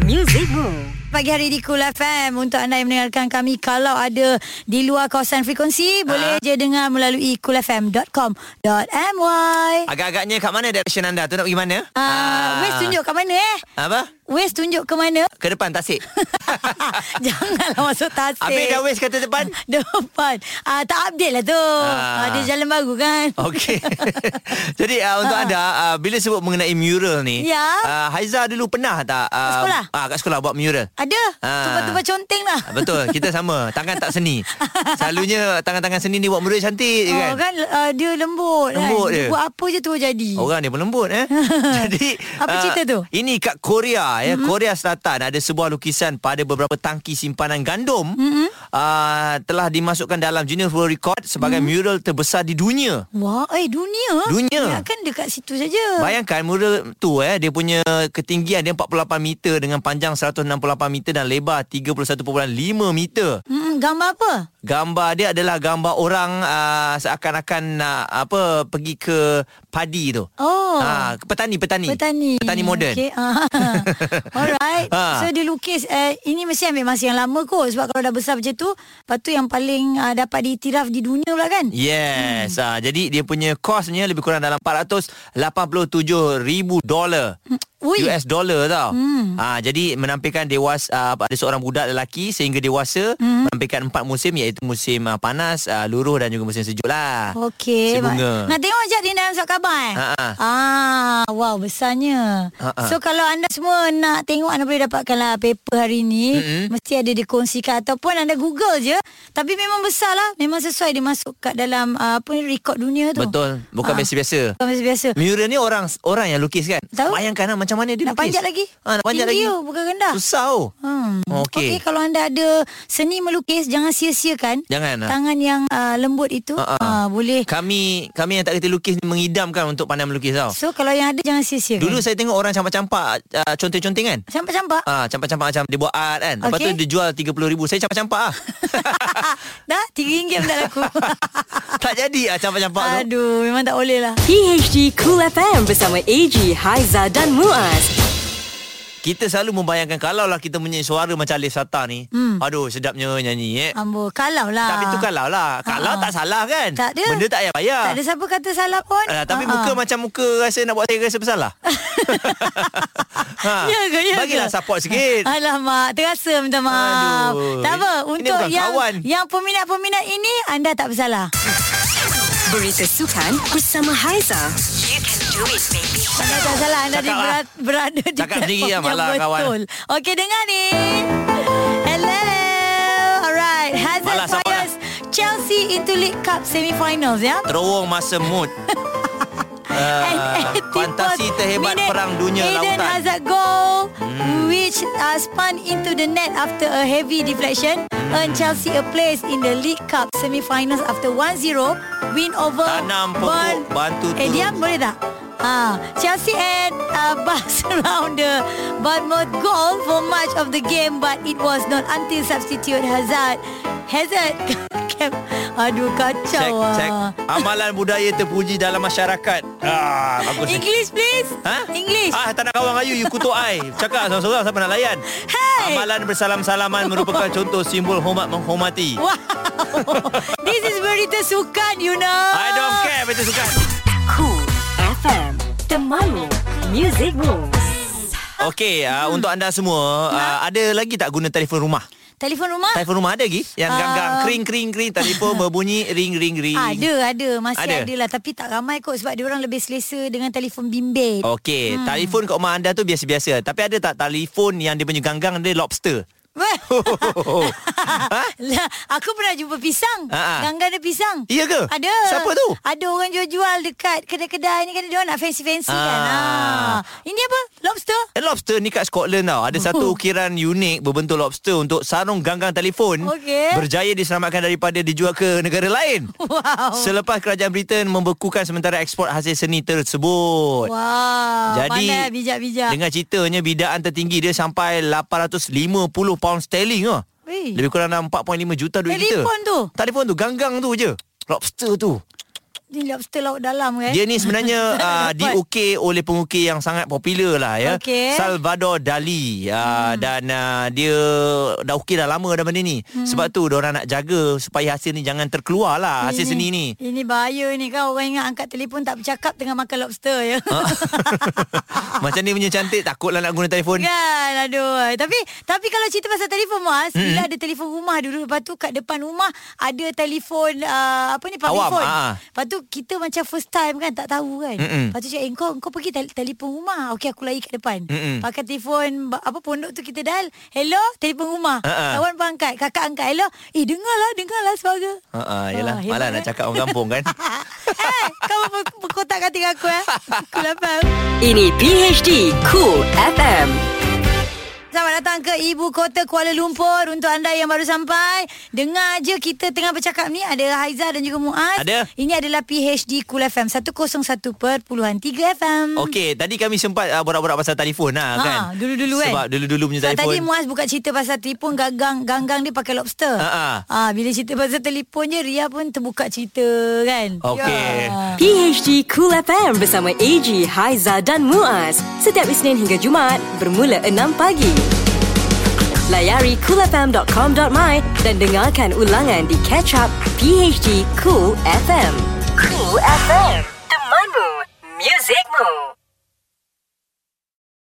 Speaker 3: Musicmu
Speaker 1: Pagi hari di Kul FM Untuk anda yang mendengarkan kami Kalau ada di luar kawasan
Speaker 2: Ha?
Speaker 1: frekuensi Boleh je dengar melalui kulfm.com.my
Speaker 2: Agak-agaknya kat mana direction anda tu nak pergi mana?
Speaker 1: Ah, uh, Wes tunjuk kat mana eh?
Speaker 2: Apa?
Speaker 1: Wes tunjuk ke mana? Ha,
Speaker 2: Ke depan tasik.
Speaker 1: Janganlah masuk tasik.
Speaker 2: Habis dah Wes kata depan?
Speaker 1: depan. Ah, tak update lah tu.
Speaker 2: Ah.
Speaker 1: Ah. Ada jalan baru kan?
Speaker 2: Okey. Jadi uh, untuk anda uh, bila sebut mengenai mural ni,
Speaker 1: Ah. Ya.
Speaker 2: uh, Haiza dulu pernah tak uh,
Speaker 1: sekolah?
Speaker 2: Ah, kat sekolah buat mural.
Speaker 1: Ada.
Speaker 2: Ah.
Speaker 1: Tumpah-tumpah conteng lah.
Speaker 2: Ah, Betul, kita sama. Tangan tak seni. Selalunya tangan-tangan seni ni buat mural cantik je kan.
Speaker 1: Oh, kan uh, dia lembut,
Speaker 2: Lembut
Speaker 1: kan?
Speaker 2: dia.
Speaker 1: Buat apa je tu jadi.
Speaker 2: Orang dia pun lembut eh. Jadi
Speaker 1: Apa
Speaker 2: ah,
Speaker 1: cerita tu?
Speaker 2: Ini kat Korea ya, mm-hmm. Korea Selatan ada sebuah lukisan pada beberapa tangki simpanan gandum mm-hmm. uh, telah dimasukkan dalam Guinness World Record sebagai mm-hmm. mural terbesar di dunia.
Speaker 1: Wah, eh dunia.
Speaker 2: Dunia.
Speaker 1: Ya, kan dekat situ saja.
Speaker 2: Bayangkan mural tu eh dia punya ketinggian dia 48 meter dengan panjang 168 meter dan lebar 31.5 meter.
Speaker 1: Hmm, gambar apa?
Speaker 2: Gambar dia adalah gambar orang uh, seakan-akan uh, apa pergi ke padi tu.
Speaker 1: Oh.
Speaker 2: Ah, petani petani.
Speaker 1: Petani.
Speaker 2: Petani moden.
Speaker 1: Okay. Ah. Alright.
Speaker 2: Ah.
Speaker 1: ha. So dia lukis uh, ini mesti ambil masa yang lama kot sebab kalau dah besar macam tu, lepas tu yang paling uh, dapat diiktiraf di dunia pula kan?
Speaker 2: Yes. Hmm. Ha, jadi dia punya costnya lebih kurang dalam 487 ribu dolar.
Speaker 1: Hmm. Ui.
Speaker 2: US dollar tau.
Speaker 1: Hmm.
Speaker 2: Ha, jadi menampilkan dewasa uh, ada seorang budak lelaki sehingga dewasa hmm. menampilkan empat musim iaitu musim uh, panas, uh, luruh dan juga musim sejuk lah.
Speaker 1: Okey.
Speaker 2: Si bunga.
Speaker 1: Nak tengok sekejap dia dalam surat khabar eh?
Speaker 2: Ha, ha.
Speaker 1: Ah, wow besarnya.
Speaker 2: Ha, ha.
Speaker 1: So kalau anda semua nak tengok anda boleh dapatkanlah paper hari ni. Mm-hmm. Mesti ada dikongsikan ataupun anda Google je. Tapi memang besar lah. Memang sesuai dia masuk kat dalam uh, apa ni rekod dunia tu.
Speaker 2: Betul. Bukan
Speaker 1: Ah.
Speaker 2: biasa-biasa.
Speaker 1: Bukan biasa-biasa.
Speaker 2: Mural ni orang orang yang lukis kan?
Speaker 1: Tahu.
Speaker 2: Bayangkan lah macam mana dia
Speaker 1: Nak
Speaker 2: lukis.
Speaker 1: panjat lagi?
Speaker 2: Ha, nak panjat
Speaker 1: Tinggi
Speaker 2: lagi.
Speaker 1: tu, bukan rendah.
Speaker 2: Susah oh.
Speaker 1: Hmm.
Speaker 2: Okey.
Speaker 1: Okey, kalau anda ada seni melukis jangan sia-siakan.
Speaker 2: Jangan, ah.
Speaker 1: Tangan yang uh, lembut itu
Speaker 2: Ha,
Speaker 1: uh,
Speaker 2: ha.
Speaker 1: uh, boleh.
Speaker 2: Kami kami yang tak kerti lukis ni mengidamkan untuk pandai melukis tau.
Speaker 1: So kalau yang ada jangan sia-siakan.
Speaker 2: Dulu saya tengok orang campak-campak uh, Conting-conting kan
Speaker 1: Campak-campak?
Speaker 2: Ah, campak-campak macam Dia buat art kan Lepas
Speaker 1: Okey.
Speaker 2: tu dia jual RM30,000 Saya campak-campak lah
Speaker 1: Dah RM3 pun tak laku.
Speaker 2: Tak jadi lah campak-campak tu
Speaker 1: Aduh, memang tak boleh lah.
Speaker 3: PHD Cool FM bersama AG, Haiza dan Muaz.
Speaker 2: Kita selalu membayangkan Kalau lah kita punya suara macam Alif Sata ni
Speaker 1: Hmm.
Speaker 2: Aduh sedapnya nyanyi eh
Speaker 1: Ambo, kalau lah.
Speaker 2: Tapi tu kalau lah Kalau tak salah kan
Speaker 1: Ah. Tak ada.
Speaker 2: Benda tak payah bayar
Speaker 1: Tak ada siapa kata salah pun.
Speaker 2: Ah, tapi
Speaker 1: Ha, ha.
Speaker 2: muka macam muka rasa nak buat saya rasa bersalah. ha.
Speaker 1: Ya ke, Ah. ya ke?
Speaker 2: Bagilah support sikit.
Speaker 1: Alamak, terasa minta maaf.
Speaker 2: Aduh.
Speaker 1: Tak apa,
Speaker 2: Ini
Speaker 1: untuk
Speaker 2: bukan
Speaker 1: yang
Speaker 2: kawan.
Speaker 1: yang peminat-peminat ini anda tak bersalah.
Speaker 3: Berita sukan bersama Haiza. You can do it, baby.
Speaker 1: Anda tak salah Anda
Speaker 3: Cakap
Speaker 1: di berat, berada di
Speaker 2: lah. Cakap sendiri lah,
Speaker 1: platform
Speaker 2: malah
Speaker 1: yang
Speaker 2: kawan.
Speaker 1: betul. Okey dengar ni Hello Alright Hazard
Speaker 2: Malas, apa
Speaker 1: Fires Chelsea into League Cup Semi-finals ya
Speaker 2: Terowong masa mood.
Speaker 1: Eh,
Speaker 2: Uh, fantasi terhebat
Speaker 1: minute,
Speaker 2: perang dunia
Speaker 1: Eden
Speaker 2: lautan. Hmm.
Speaker 1: Hazard goal Which uh, spun into the net After a heavy deflection
Speaker 2: Hmm.
Speaker 1: Earned Chelsea a place in the League Cup Semi-finals after 1-0 Win over
Speaker 2: Tanam pokok,
Speaker 1: Bern-
Speaker 2: bantu
Speaker 1: Eh
Speaker 2: turun.
Speaker 1: diam boleh tak? Ah, Chelsea had uh, bounced around the Bournemouth goal for much of the game but it was not until substitute Hazard Hazard kept Aduh
Speaker 2: Cek,
Speaker 1: kacau
Speaker 2: cek.
Speaker 1: ah.
Speaker 2: Amalan budaya terpuji dalam masyarakat. Ah, bagus. ni.
Speaker 1: English please
Speaker 2: Ha?
Speaker 1: English
Speaker 2: Ah, tak nak kawan dengan you, you kutuk I. Cakap seorang-seorang siapa nak layan.
Speaker 1: Hey.
Speaker 2: Amalan bersalam-salaman merupakan contoh simbol hormat menghormati.
Speaker 1: Wow This is berita sukan you know
Speaker 2: I don't care, betul sukan.
Speaker 3: Cool FM. Temanmu. Musicmu.
Speaker 2: Okey,
Speaker 1: Hmm.
Speaker 2: uh, untuk anda semua, uh, ada lagi tak guna telefon rumah?
Speaker 1: Telefon rumah?
Speaker 2: Telefon rumah ada lagi? Yang
Speaker 1: Ah.
Speaker 2: ganggang kering kering kering telefon berbunyi ring ring ring.
Speaker 1: Ada, ada. Masih
Speaker 2: Ada?
Speaker 1: ada. lah. Tapi tak ramai kot sebab dia orang lebih selesa dengan telefon bimbit.
Speaker 2: Okey, hmm. telefon kat rumah anda tu biasa-biasa. Tapi ada tak telefon yang dia punya ganggang dia lobster? Ha?
Speaker 1: Lah, Aku pernah jumpa pisang.
Speaker 2: Ha-ha.
Speaker 1: Ganggang ada pisang.
Speaker 2: Ha, Iya ke?
Speaker 1: Ada.
Speaker 2: Siapa tu?
Speaker 1: Ada orang jual-jual dekat kedai-kedai ni kan dia orang nak fancy-fancy kan.
Speaker 2: Ah.
Speaker 1: Ha. Ini apa? Lobster?
Speaker 2: Eh, lobster ni kat Scotland tau. Ada satu ukiran unik berbentuk lobster untuk sarung ganggang telefon.
Speaker 1: Okey.
Speaker 2: Berjaya diselamatkan daripada dijual ke negara lain.
Speaker 1: Wow.
Speaker 2: Selepas kerajaan Britain membekukan sementara ekspor hasil seni tersebut.
Speaker 1: Wow.
Speaker 2: Jadi,
Speaker 1: pandai bijak-bijak.
Speaker 2: Dengan ceritanya bidaan tertinggi dia sampai 850 pound sterling lah.
Speaker 1: Weh.
Speaker 2: Lebih kurang dalam 4.5 juta duit kita.
Speaker 1: Telefon tu.
Speaker 2: Telefon tu, ganggang tu je. Lobster tu.
Speaker 1: Ni lobster laut dalam kan?
Speaker 2: Dia ni sebenarnya uh, diukir oleh pengukir yang sangat popular lah ya.
Speaker 1: Okey.
Speaker 2: Salvador Dali. Uh, hmm. Dan uh, dia dah ukir dah lama dah benda ni. Hmm. Sebab tu orang nak jaga supaya hasil ni jangan terkeluar lah hasil
Speaker 1: Ini-
Speaker 2: seni ni.
Speaker 1: Ini bahaya ni kan Orang ingat angkat telefon tak bercakap Tengah makan lobster ya
Speaker 2: Ah, Macam ni punya cantik takutlah nak guna telefon.
Speaker 1: Kan aduh Tapi tapi kalau cerita pasal telefon Mas mm. Bila ada telefon rumah dulu Lepas tu kat depan rumah Ada telefon uh, Apa ni public
Speaker 2: Awam,
Speaker 1: phone
Speaker 2: ah.
Speaker 1: Lepas tu kita macam first time kan Tak tahu kan
Speaker 2: Mm-mm.
Speaker 1: Lepas tu cakap eh, kau, kau pergi tel- telefon rumah Okey aku lari kat depan
Speaker 2: Mm-mm.
Speaker 1: Pakai telefon ba- Apa pondok tu kita dial Hello telefon rumah
Speaker 2: Ah, ah.
Speaker 1: Kawan pun angkat Kakak angkat Hello Eh dengarlah dengarlah suara
Speaker 2: Ha ah,
Speaker 1: Ah,
Speaker 2: yalah,
Speaker 1: hebat
Speaker 2: malah
Speaker 1: kan?
Speaker 2: nak cakap orang kampung kan.
Speaker 1: Eh kau ber- berkotak kat dengan aku eh Aku lapar
Speaker 3: Ini PHD Cool FM.
Speaker 1: Selamat datang ke ibu kota Kuala Lumpur Untuk anda yang baru sampai Dengar je kita tengah bercakap ni Ada Haiza dan juga Muaz
Speaker 2: Ada.
Speaker 1: Ini adalah PHD Cool FM 101.3 FM
Speaker 2: Okey, tadi kami sempat uh, borak-borak pasal telefon lah
Speaker 1: Ha,
Speaker 2: kan.
Speaker 1: dulu-dulu kan?
Speaker 2: Sebab dulu-dulu punya
Speaker 1: Sebab
Speaker 2: telefon.
Speaker 1: tadi Muaz buka cerita pasal telefon Ganggang ganggang dia pakai lobster
Speaker 2: Ha,
Speaker 1: ha, Bila cerita pasal telefon je Ria pun terbuka cerita kan
Speaker 2: Okey.
Speaker 3: PHD Cool FM bersama AG, Haiza dan Muaz. Setiap Isnin hingga Jumaat bermula 6 pagi. Layari coolfm.com.my dan dengarkan ulangan di Catch Up PHD Cool FM. Cool FM. Temanmu. Muzikmu.